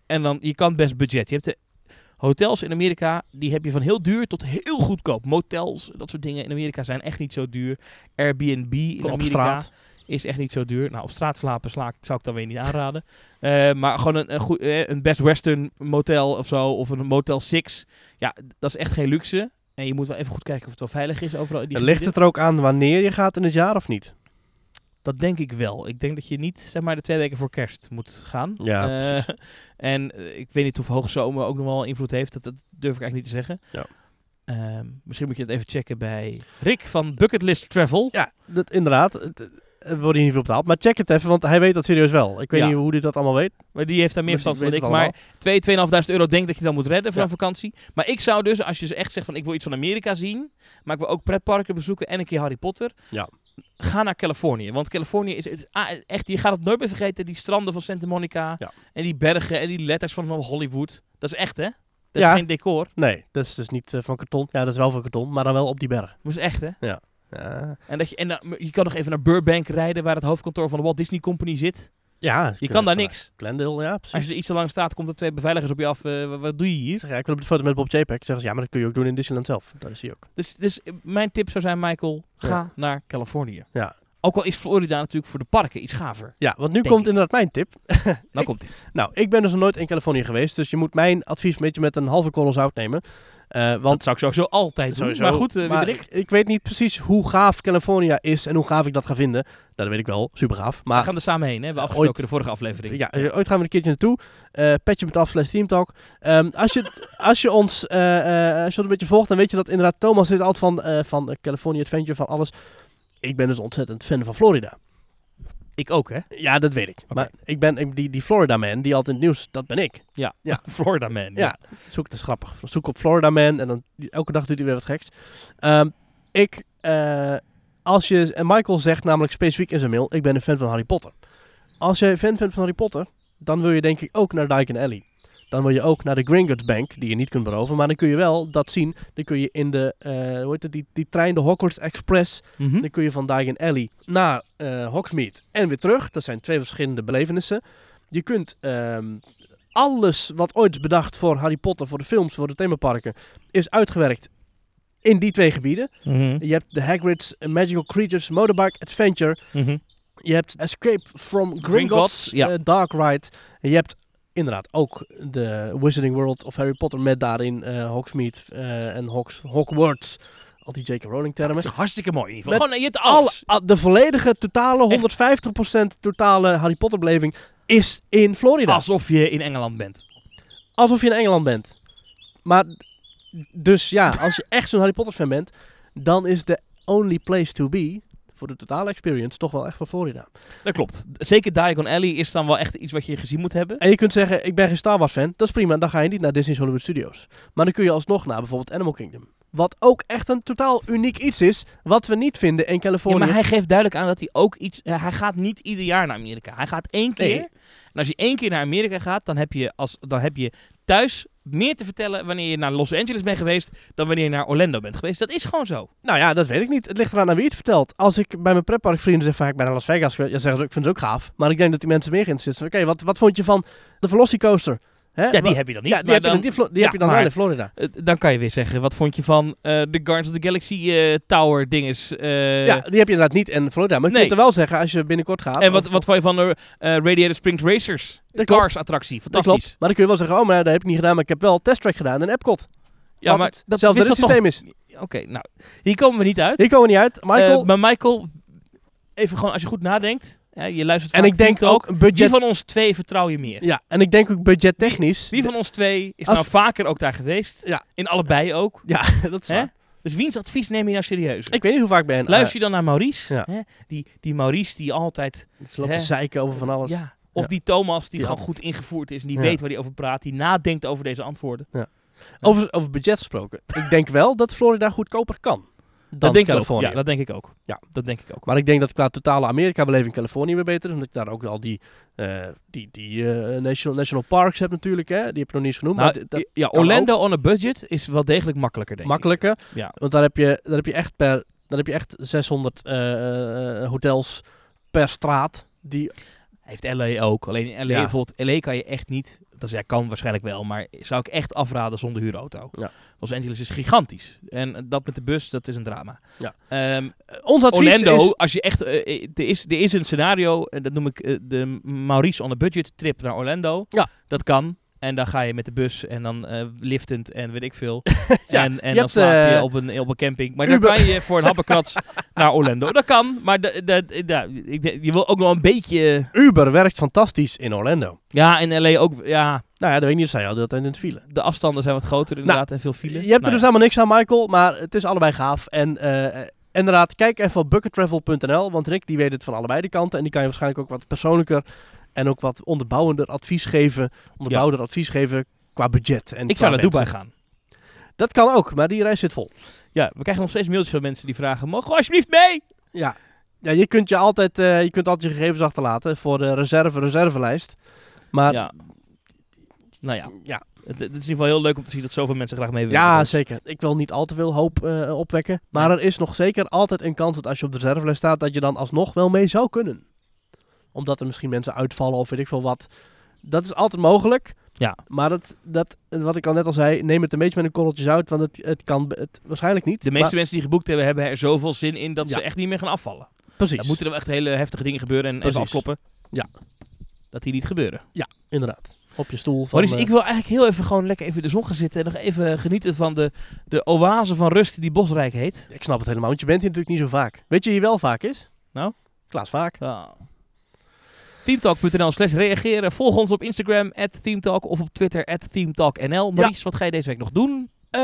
S2: en dan, je kan best budget. Je hebt de hotels in Amerika, die heb je van heel duur tot heel goedkoop. Motels, dat soort dingen in Amerika zijn echt niet zo duur. Airbnb in
S1: op
S2: Amerika
S1: straat.
S2: is echt niet zo duur. Nou, op straat slapen sla, ik- zou ik dan weer niet aanraden. Eh, maar gewoon een, een, goed, eh, een Best Western motel of zo, of een Motel 6. Ja, d- dat is echt geen luxe. En je moet wel even goed kijken of het wel veilig is overal in die
S1: En ligt
S2: gebieden.
S1: het er ook aan wanneer je gaat in het jaar of niet?
S2: Dat denk ik wel. Ik denk dat je niet, zeg maar, de twee weken voor kerst moet gaan.
S1: Ja,
S2: Eh, En eh, ik weet niet of hoogzomer ook nog wel invloed heeft. Dat, dat durf ik eigenlijk niet te zeggen.
S1: Ja.
S2: Ehm, misschien moet je het even checken bij Rick van Bucketlist Travel.
S1: Ja, dat, inderdaad. Het- Er wordt hier niet veel betaald. Maar check het even, want hij weet dat serieus wel. Ik weet
S2: Ja.
S1: niet hoe hij dat allemaal weet.
S2: Maar die heeft daar meer
S1: Maar
S2: verstand
S1: die
S2: van dan ik.
S1: Dus weet het
S2: Maar 2, 2.500 euro denk dat je dan moet redden voor
S1: Ja.
S2: een vakantie. Maar ik zou dus, als je dus echt zegt van ik wil iets van Amerika zien, maar ik wil ook pretparken bezoeken en een keer Harry Potter.
S1: Ja.
S2: Ga naar Californië. Want Californië is het, ah, echt, je gaat het nooit meer vergeten. Die stranden van Santa Monica
S1: Ja.
S2: en die bergen en die letters van Hollywood. Dat is echt hè? Dat
S1: Ja.
S2: is geen decor.
S1: Nee, dat is dus niet eh, van karton. Ja, dat is wel van karton, maar dan wel op die berg.
S2: Dat is echt hè?
S1: Ja,
S2: En, dat je, en dan- je kan nog even naar Burbank rijden waar het hoofdkantoor van de Walt Disney Company zit.
S1: ja eh,
S2: Je kan daar niks.
S1: Glendale, ja, precies.
S2: Als je er iets te lang staat, komt er twee beveiligers op je af. eh, wa- wat doe je hier?
S1: Ik zeg, ja, ik wil op de foto met Bob JPEG. Zeggen ze, ja, maar dat kun je ook doen in Disneyland zelf. Dat is hij ook.
S2: Dus, dus mijn tip zou zijn, Michael, ga
S1: Ja.
S2: naar Californië.
S1: Ja.
S2: Ook al is Florida natuurlijk voor de parken iets gaver.
S1: Ja, want nu
S2: Denk
S1: komt
S2: ik.
S1: inderdaad mijn tip.
S2: Nou komt ie.
S1: Nou, ik ben dus nog nooit in Californië geweest, dus je moet mijn advies een beetje met een halve korrel zout nemen. Eh,
S2: Dat
S1: want
S2: zou ik sowieso altijd
S1: sowieso,
S2: doen. Maar goed, eh
S1: maar
S2: Diederik,
S1: ik, ik weet niet precies hoe gaaf California is en hoe gaaf ik dat ga vinden. Nou, dat weet ik wel, super gaaf.
S2: we
S1: Maar
S2: gaan er samen heen. Hè? We hebben
S1: eh,
S2: afgesproken
S1: ooit-
S2: in de vorige aflevering.
S1: ja, eh, ooit gaan we een keertje naartoe. Eh petje met af slash teamtalk. Ehm, als, je, als je ons eh, eh, als je ons een beetje volgt, dan weet je dat inderdaad Thomas is altijd van, eh van eh, California Adventure, van alles. Ik ben dus ontzettend fan van Florida.
S2: Ik ook, hè?
S1: Ja, dat weet ik.
S2: Oké.
S1: Maar ik ben ik, die, die Florida man, die altijd in het nieuws, dat ben ik.
S2: Florida man.
S1: Ja. Zoek, dat is grappig. Zoek op Florida Man en dan elke dag doet hij weer wat geks. Ehm, ik, eh, als je, en Michael zegt namelijk specifiek in zijn mail, ik ben een fan van Harry Potter. Als je fan bent van Harry Potter, dan wil je denk ik ook naar Dyke Alley. Dan wil je ook naar de Gringotts Bank, die je niet kunt beroven. Maar dan kun je wel dat zien. Dan kun je in de, eh, hoe heet het, die, die trein, de Hogwarts Express.
S2: Mhm.
S1: Dan kun je van Diagon Alley naar eh Hogsmeade en weer terug. Dat zijn twee verschillende belevenissen. Je kunt ehm, alles wat ooit is bedacht voor Harry Potter, voor de films, voor de themaparken, is uitgewerkt in die twee gebieden.
S2: Mhm.
S1: Je hebt de Hagrid's Magical Creatures Motorbike Adventure.
S2: Mhm.
S1: Je hebt Escape from Gringotts,
S2: Gringotts, ja.
S1: eh, Dark Ride. En je hebt inderdaad ook de Wizarding World of Harry Potter met daarin eh Hogsmeade eh, en Hogs, Hogwarts. Al die J.K. Rowling termen.
S2: Dat is hartstikke mooi in ieder
S1: Met
S2: geval. Gewoon, eh, je hebt
S1: Alle,
S2: alles.
S1: a- de volledige, totale,
S2: Echt?
S1: 150% totale Harry Potter beleving is in Florida.
S2: Alsof je in Engeland bent.
S1: Alsof je in Engeland bent. Maar, d- dus ja, als je echt zo'n Harry Potter fan bent, dan is de only place to be voor de totale experience toch wel echt van Florida.
S2: Dat klopt. Zeker Diagon Alley is dan wel echt iets wat je gezien moet hebben.
S1: En je kunt zeggen, ik ben geen Star Wars fan, dat is prima, dan ga je niet naar Disney's Hollywood Studios. Maar dan kun je alsnog naar bijvoorbeeld Animal Kingdom. Wat ook echt een totaal uniek iets is, wat we niet vinden in
S2: Ja,
S1: Californië.
S2: maar hij geeft duidelijk aan dat hij ook iets... eh, hij gaat niet ieder jaar naar Amerika. Hij gaat één keer.
S1: Nee.
S2: En als je één keer naar Amerika gaat, dan heb, je als, dan heb je thuis meer te vertellen wanneer je naar Los Angeles bent geweest dan wanneer je naar Orlando bent geweest. Dat is gewoon zo.
S1: Nou ja, dat weet ik niet. Het ligt eraan aan wie het vertelt. Als ik bij mijn pretparkvrienden zeg van ja, ik ben naar Las Vegas geweest, dan zeggen ze, ik vind het ook gaaf. Maar ik denk dat die mensen meer geïnteresseerd zijn. Oké, wat, wat vond je van de Velocicoaster? Hè?
S2: Ja,
S1: Wa-
S2: die heb je dan niet.
S1: ja, die
S2: maar
S1: heb je dan,
S2: dan-
S1: die, Flo- die
S2: ja,
S1: heb je dan wel
S2: maar-
S1: in Florida.
S2: eh, dan kan je weer zeggen, wat vond je van eh, de Guardians of the Galaxy eh, Tower dinges? eh,
S1: ja, die heb je inderdaad niet in Florida. Maar je
S2: nee.
S1: kunt er wel zeggen als je binnenkort gaat.
S2: En wat,
S1: of-
S2: wat vond je van de eh, Radiator Springs Racers? De
S1: Dat klopt.
S2: Cars attractie,
S1: Dat
S2: fantastisch.
S1: klopt. Maar dan kun je wel zeggen, oh, maar dat heb ik niet gedaan, maar ik heb wel testtrack gedaan in Epcot.
S2: Ja, maar dat
S1: zelfde
S2: wist dat toch?
S1: systeem is.
S2: Oké, nou, hier komen we niet uit.
S1: Hier komen we niet uit. Michael,
S2: Eh, maar Michael, even gewoon als je goed nadenkt, hè, je luistert
S1: en
S2: vaak
S1: ik denk
S2: goed
S1: ook
S2: Wie
S1: budget...
S2: van ons twee vertrouw je meer?
S1: Ja, en ik denk ook budgettechnisch.
S2: Wie van ons twee is
S1: Als-
S2: nou vaker ook daar geweest?
S1: Ja.
S2: In allebei ook.
S1: dat is
S2: Hè?
S1: waar.
S2: Dus wiens advies neem je nou serieus?
S1: Ik weet niet hoe vaak ik ben.
S2: Luister je dan naar Maurice?
S1: ja.
S2: Hè? Die, die Maurice die altijd...
S1: Eh, het loopt
S2: hè?
S1: te zeiken over van alles.
S2: Ja. Of
S1: Ja.
S2: die Thomas die
S1: Ja.
S2: gewoon goed ingevoerd is en die
S1: Ja.
S2: weet waar hij over praat. Die nadenkt over deze antwoorden.
S1: Over, over budget gesproken. ik denk wel dat Florida goedkoper kan dan
S2: dat denk
S1: Californië.
S2: ik ook. Ja, dat denk ik ook.
S1: Ja.
S2: Dat denk ik ook.
S1: Maar ik denk dat qua totale Amerika-beleving Californië weer beter is. Omdat je daar ook al die, eh, die, die eh, national, national parks hebt natuurlijk. Hè? Die heb je nog niet eens genoemd.
S2: Nou,
S1: maar dit- dat
S2: ja,
S1: kan
S2: Orlando on a budget is wel degelijk makkelijker, denk ik.
S1: makkelijker.
S2: Ja.
S1: Want daar heb je, daar heb je echt per... Daar heb je echt 600 eh, eh, hotels per straat. Die, eh,
S2: Heeft LA ook. Alleen in LA,
S1: Ja.
S2: bijvoorbeeld, LA kan je echt niet. Dat is, ja, kan waarschijnlijk wel, maar zou ik echt afraden zonder huurauto.
S1: Ja.
S2: Los Angeles is gigantisch. En eh, dat met de bus, dat is een drama.
S1: Ja.
S2: Ehm,
S1: Eh, ons advies
S2: Orlando,
S1: is...
S2: als je echt. eh, eh, er, is, er is een scenario, en dat noem ik eh, de Maurice on a budget trip naar Orlando.
S1: Ja.
S2: Dat kan. En dan ga je met de bus en dan eh, liftend en weet ik veel.
S1: Ja,
S2: en en
S1: je
S2: dan
S1: hebt,
S2: slaap je
S1: eh,
S2: op een, op een camping. Maar
S1: Uber.
S2: dan kan je voor een happenkrats naar Orlando. Dat kan, maar da- da- da- ik denk- je wil ook nog een beetje...
S1: Uber werkt fantastisch in Orlando.
S2: Ja, in LA ook. Ja,
S1: Nou ja, dat weet ik niet. Dat zei je al, dat in het file.
S2: de afstanden zijn wat groter inderdaad en veel file.
S1: Nou, Je hebt er
S2: Nou
S1: dus
S2: ja.
S1: helemaal niks aan, Michael. Maar het is allebei gaaf. En eh, eh, inderdaad, kijk even op buckettravel.nl. Want Rick die weet het van allebei de kanten. En die kan je waarschijnlijk ook wat persoonlijker en ook wat onderbouwender advies geven. Onderbouwder advies geven qua budget. En
S2: Ik
S1: qua
S2: zou naar
S1: mensen.
S2: Dubai gaan.
S1: Dat kan ook, maar die reis zit vol.
S2: Ja, we krijgen nog steeds mailtjes van mensen die vragen... Mogen we alsjeblieft mee?
S1: Ja. Ja, je kunt, je, altijd, eh, je kunt altijd je gegevens achterlaten voor de reserve, reservelijst. Maar ja,
S2: ja. Nou ja,
S1: ja,
S2: het, het is in ieder geval heel leuk om te zien dat zoveel mensen graag mee willen.
S1: ja
S2: Dat-
S1: zeker. Ik wil niet al te veel hoop eh, opwekken. Maar
S2: Nee.
S1: er is nog zeker altijd een kans dat als je op de reservelijst staat, dat je dan alsnog wel mee zou kunnen. Omdat er misschien mensen uitvallen of weet ik veel wat. Dat is altijd mogelijk.
S2: Ja.
S1: Maar dat, dat, wat ik al net al zei, neem het een beetje met een korreltjes uit, want het, het kan be- het, waarschijnlijk niet.
S2: De meeste mensen die geboekt hebben, hebben er zoveel zin in dat ze
S1: Ja.
S2: echt niet meer gaan afvallen.
S1: Maar- precies.
S2: Dan moeten er wel echt hele heftige dingen gebeuren en even
S1: Precies.
S2: afkloppen.
S1: Ja.
S2: Dat die niet gebeuren.
S1: Inderdaad. Op je stoel. Van,
S2: Maurice,
S1: eh,
S2: ik wil eigenlijk heel even gewoon lekker even in de zon gaan zitten. En nog even genieten van de, de oase van rust die Bosrijk heet.
S1: Ik snap het helemaal, want je bent hier natuurlijk niet zo vaak. Weet je wie wel vaak is?
S2: Nou?
S1: Klaas Vaak.
S2: Ja. Teamtalk.nl slash reageren. Volg ons op Instagram, Teamtalk. Of op Twitter, Teamtalknl. Maurice, wat ga je deze week nog doen?
S1: Eh,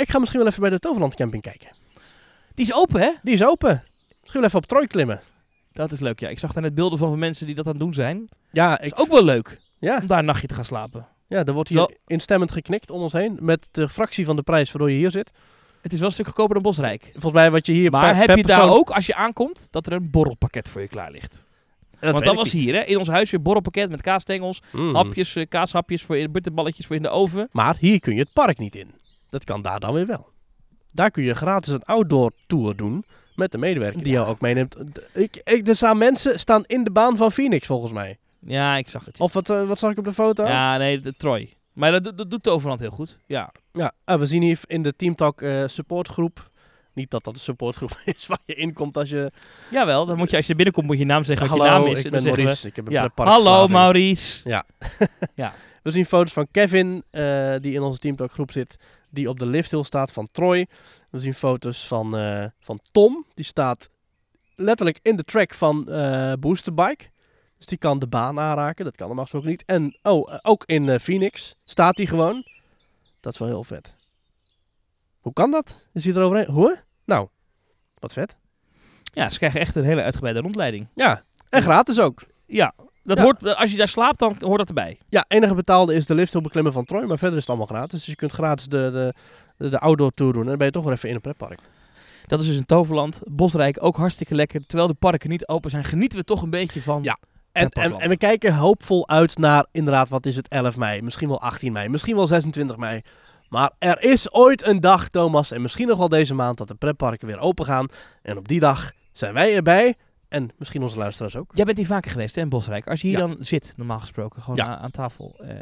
S1: ik ga misschien wel even bij de Toverland Camping kijken.
S2: Die is open, hè?
S1: Die is open. Misschien wel even op Troy klimmen.
S2: Dat is leuk, ja. Ik zag daar net beelden van, van mensen die dat aan het doen zijn.
S1: Ja,
S2: Dat is ook wel leuk
S1: ja,
S2: om daar een nachtje te gaan slapen.
S1: ja, er wordt hier
S2: Zo.
S1: instemmend geknikt om ons heen. Met de fractie van de prijs waardoor je hier zit.
S2: Het is wel een stuk goedkoper dan Bosrijk.
S1: Volgens mij wat je hier
S2: Maar
S1: per-
S2: heb
S1: per
S2: je daar
S1: persoon-
S2: ook, als je aankomt, dat er een borrelpakket voor je klaar ligt?
S1: Dat
S2: Want
S1: weet
S2: dat
S1: ik
S2: was
S1: niet.
S2: hier, hè? In ons huisje een borrelpakket met kaasstengels,
S1: Mm.
S2: hapjes, eh, kaashapjes, voor in, bitterballetjes voor in de oven.
S1: Maar hier kun je het park niet in. Dat kan daar dan weer wel. Daar kun je gratis een outdoor tour doen. Met de medewerker die
S2: Ja.
S1: jou ook meeneemt. D- Ik, ik, er staan mensen staan in de baan van Phoenix volgens mij.
S2: Ja, ik zag het. ja.
S1: Of wat, eh, wat zag ik op de foto?
S2: Ja, nee, de Troy. Maar dat, do- dat doet Toverland heel goed. Ja.
S1: Ja, eh, we zien hier in de Teamtalk eh supportgroep. Niet dat dat een supportgroep is waar je inkomt als je...
S2: Jawel, dan moet je, als je binnenkomt, moet je naam zeggen wat
S1: Hallo,
S2: je naam is.
S1: ik
S2: en
S1: ben
S2: dan zeggen
S1: Maurice. Ik heb
S2: we-
S1: een
S2: ja,
S1: pretpark
S2: Hallo
S1: verslaving.
S2: Maurice.
S1: We zien foto's van Kevin, eh, die in onze Teamtalk groep zit. Die op de lifthill staat van Troy. We zien foto's van, eh, van Tom. Die staat letterlijk in de track van eh Boosterbike. Dus die kan de baan aanraken. Dat kan normaal gesproken niet. En oh, eh, ook in eh, Phoenix staat hij gewoon. Dat is wel heel vet. Hoe kan dat? Is hij eroverheen? Hoe? Nou, wat vet.
S2: Ja, ze krijgen echt een hele uitgebreide rondleiding.
S1: Ja, en gratis ook.
S2: Ja, Dat
S1: Ja.
S2: hoort, als je daar slaapt, dan hoort dat erbij.
S1: Ja, enige betaalde is de lift op beklimmen van Troy, maar verder is het allemaal gratis. Dus je kunt gratis de, de, de, de outdoor tour doen en dan ben je toch weer even in een pretpark.
S2: Dat is dus een toverland. Bosrijk ook hartstikke lekker. Terwijl de parken niet open zijn, genieten we toch een beetje van.
S1: Ja. En, en,
S2: Pretparkland.
S1: en we kijken hoopvol uit naar inderdaad, wat is het, 11 mei, misschien wel 18 mei, misschien wel 26 mei. Maar er is ooit een dag, Thomas, en misschien nog wel deze maand, dat de pretparken weer open gaan. En op die dag zijn wij erbij en misschien onze luisteraars ook.
S2: Jij bent hier vaker geweest, hè, in Bosrijk. Als je hier
S1: Ja.
S2: dan zit, normaal gesproken, gewoon
S1: Ja.
S2: aan, aan tafel eh,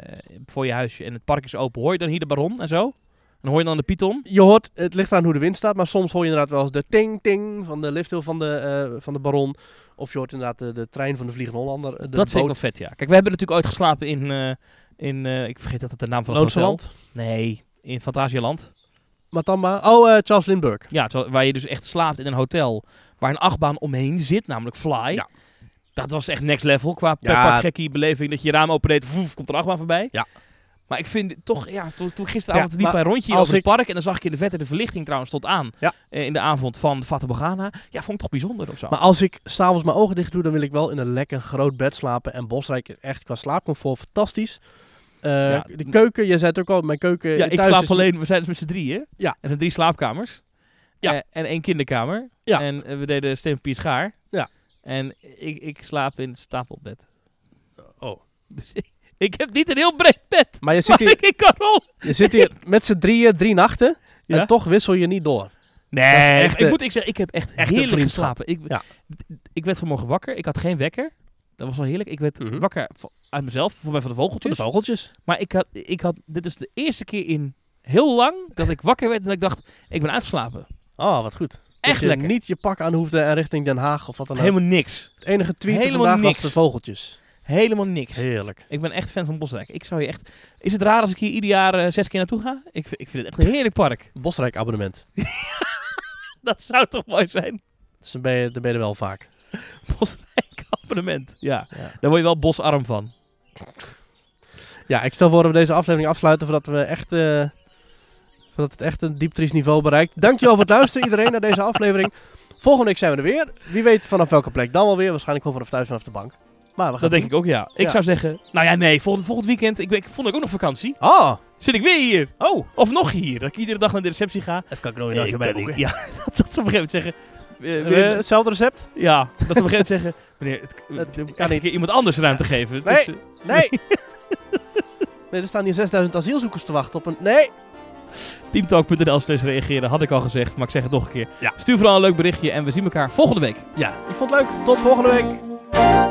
S2: voor je huisje en het park is open, hoor je dan hier de baron en zo? En hoor je dan de Python?
S1: Je hoort, het ligt eraan hoe de wind staat, maar soms hoor je inderdaad wel eens de ting-ting van de lifthill van de, eh, van de Baron. Of je hoort inderdaad de, de trein van de Vliegende Hollander. eh, De
S2: dat vind ik
S1: boot-
S2: wel vet, ja. Kijk, we hebben natuurlijk ooit geslapen in, eh, in eh, ik vergeet dat het de naam van het
S1: Loonse
S2: hotel.
S1: Land.
S2: Nee, in het Fantasieland.
S1: Matamba. Oh, eh, Charles Lindbergh.
S2: Ja, terwijl- waar je dus echt slaapt in een hotel waar een achtbaan omheen zit, namelijk Fly.
S1: Ja.
S2: Dat was echt next level qua
S1: Ja.
S2: ja. gekkie beleving dat je je raam opendeed, voef, komt er een achtbaan voorbij.
S1: Ja.
S2: Maar ik vind het toch, ja, toen, toen gisteravond
S1: Ja,
S2: liep
S1: maar
S2: een rondje hier
S1: als
S2: over het
S1: ik-
S2: park en dan zag ik in de vette de verlichting trouwens tot aan
S1: Ja.
S2: eh, in de avond van Fata Morgana. Ja, vond ik toch bijzonder of zo.
S1: Maar als ik s'avonds mijn ogen dicht doe, dan wil ik wel in een lekker groot bed slapen. En Bosrijk is echt qua slaapcomfort fantastisch. Eh,
S2: Ja.
S1: de keuken, je zei het ook al, mijn keuken
S2: ja, ik
S1: eh, thuis
S2: slaap
S1: is-
S2: alleen, we zijn dus met z'n drieën.
S1: Ja.
S2: Er zijn drie slaapkamers.
S1: Ja.
S2: Eh, en één kinderkamer.
S1: Ja.
S2: En eh, we deden steen, papier, schaar.
S1: Ja.
S2: En ik, ik slaap in het stapelbed.
S1: Oh.
S2: Dus ik, ik heb niet een heel breed bed.
S1: Maar je zit
S2: Waar
S1: hier,
S2: Oh, ik in kan rollen.
S1: je zit hier met z'n drieën, drie nachten.
S2: Ja.
S1: En toch wissel je niet door.
S2: Nee,
S1: echt,
S2: ik
S1: eh,
S2: moet ik zeggen, ik heb echt,
S1: echt een
S2: heerlijk
S1: vriendschap.
S2: geslapen. Ik,
S1: Ja.
S2: ik werd vanmorgen wakker. Ik had geen wekker. Dat was wel heerlijk. Ik werd
S1: Mhm.
S2: wakker van- uit mezelf, voor mij van de
S1: Voor de
S2: vogeltjes.
S1: vogeltjes.
S2: Maar ik had, ik had, dit is de eerste keer in heel lang dat ik wakker werd en dat ik dacht, ik ben uitgeslapen.
S1: Oh, wat goed.
S2: Echt
S1: dat je
S2: lekker.
S1: niet je pak aan hoefde en richting Den Haag of wat dan ook.
S2: Helemaal niks.
S1: Het enige tweet
S2: Helemaal
S1: vandaag
S2: niks.
S1: was de vogeltjes.
S2: Helemaal niks.
S1: Heerlijk.
S2: Ik ben echt fan van Bosrijk. Ik zou je echt... Is het raar als ik hier ieder jaar eh, zes keer naartoe ga? Ik, vind- ik vind het echt een heerlijk park.
S1: Bosrijk abonnement.
S2: Dat zou toch mooi zijn?
S1: Dus dan ben je, dan ben je er wel vaak.
S2: Bosrijk abonnement. Ja.
S1: Ja.
S2: Daar word je wel bosarm van.
S1: Ja, ik stel voor dat we deze aflevering afsluiten voordat we echt... eh, voordat het echt een dieptries niveau bereikt. Dankjewel voor het luisteren iedereen naar deze aflevering. Volgende week zijn we er weer. Wie weet vanaf welke plek dan wel weer. Waarschijnlijk gewoon vanaf thuis vanaf de bank. Maar we gaan
S2: Dat denk ik ook, ja. Ik
S1: Ja.
S2: zou zeggen... Nou ja, nee. Volgend, volgend weekend. Ik, ben- ik vond ik ook nog vakantie.
S1: Oh,
S2: Zit ik weer hier.
S1: oh.
S2: Of nog hier. Dat ik iedere dag naar de receptie ga.
S1: Dat kan ik nooit
S2: Eh, ik kan- ik- ja, dat, dat ze op een gegeven moment zeggen... eh,
S1: Eh, hetzelfde recept?
S2: ja, dat ze op een gegeven moment zeggen... Meneer, het,
S1: Het
S2: het,
S1: kan
S2: kan ik iemand anders ruimte geven? Het
S1: Nee.
S2: is, eh,
S1: Nee. nee, er staan hier 6000 asielzoekers te wachten op een... Nee.
S2: Teamtalk.nl slash reageren had ik al gezegd, maar ik zeg het nog een keer.
S1: Ja.
S2: Stuur vooral een leuk berichtje en we zien elkaar volgende week.
S1: Ja, ik vond het leuk. Tot volgende week.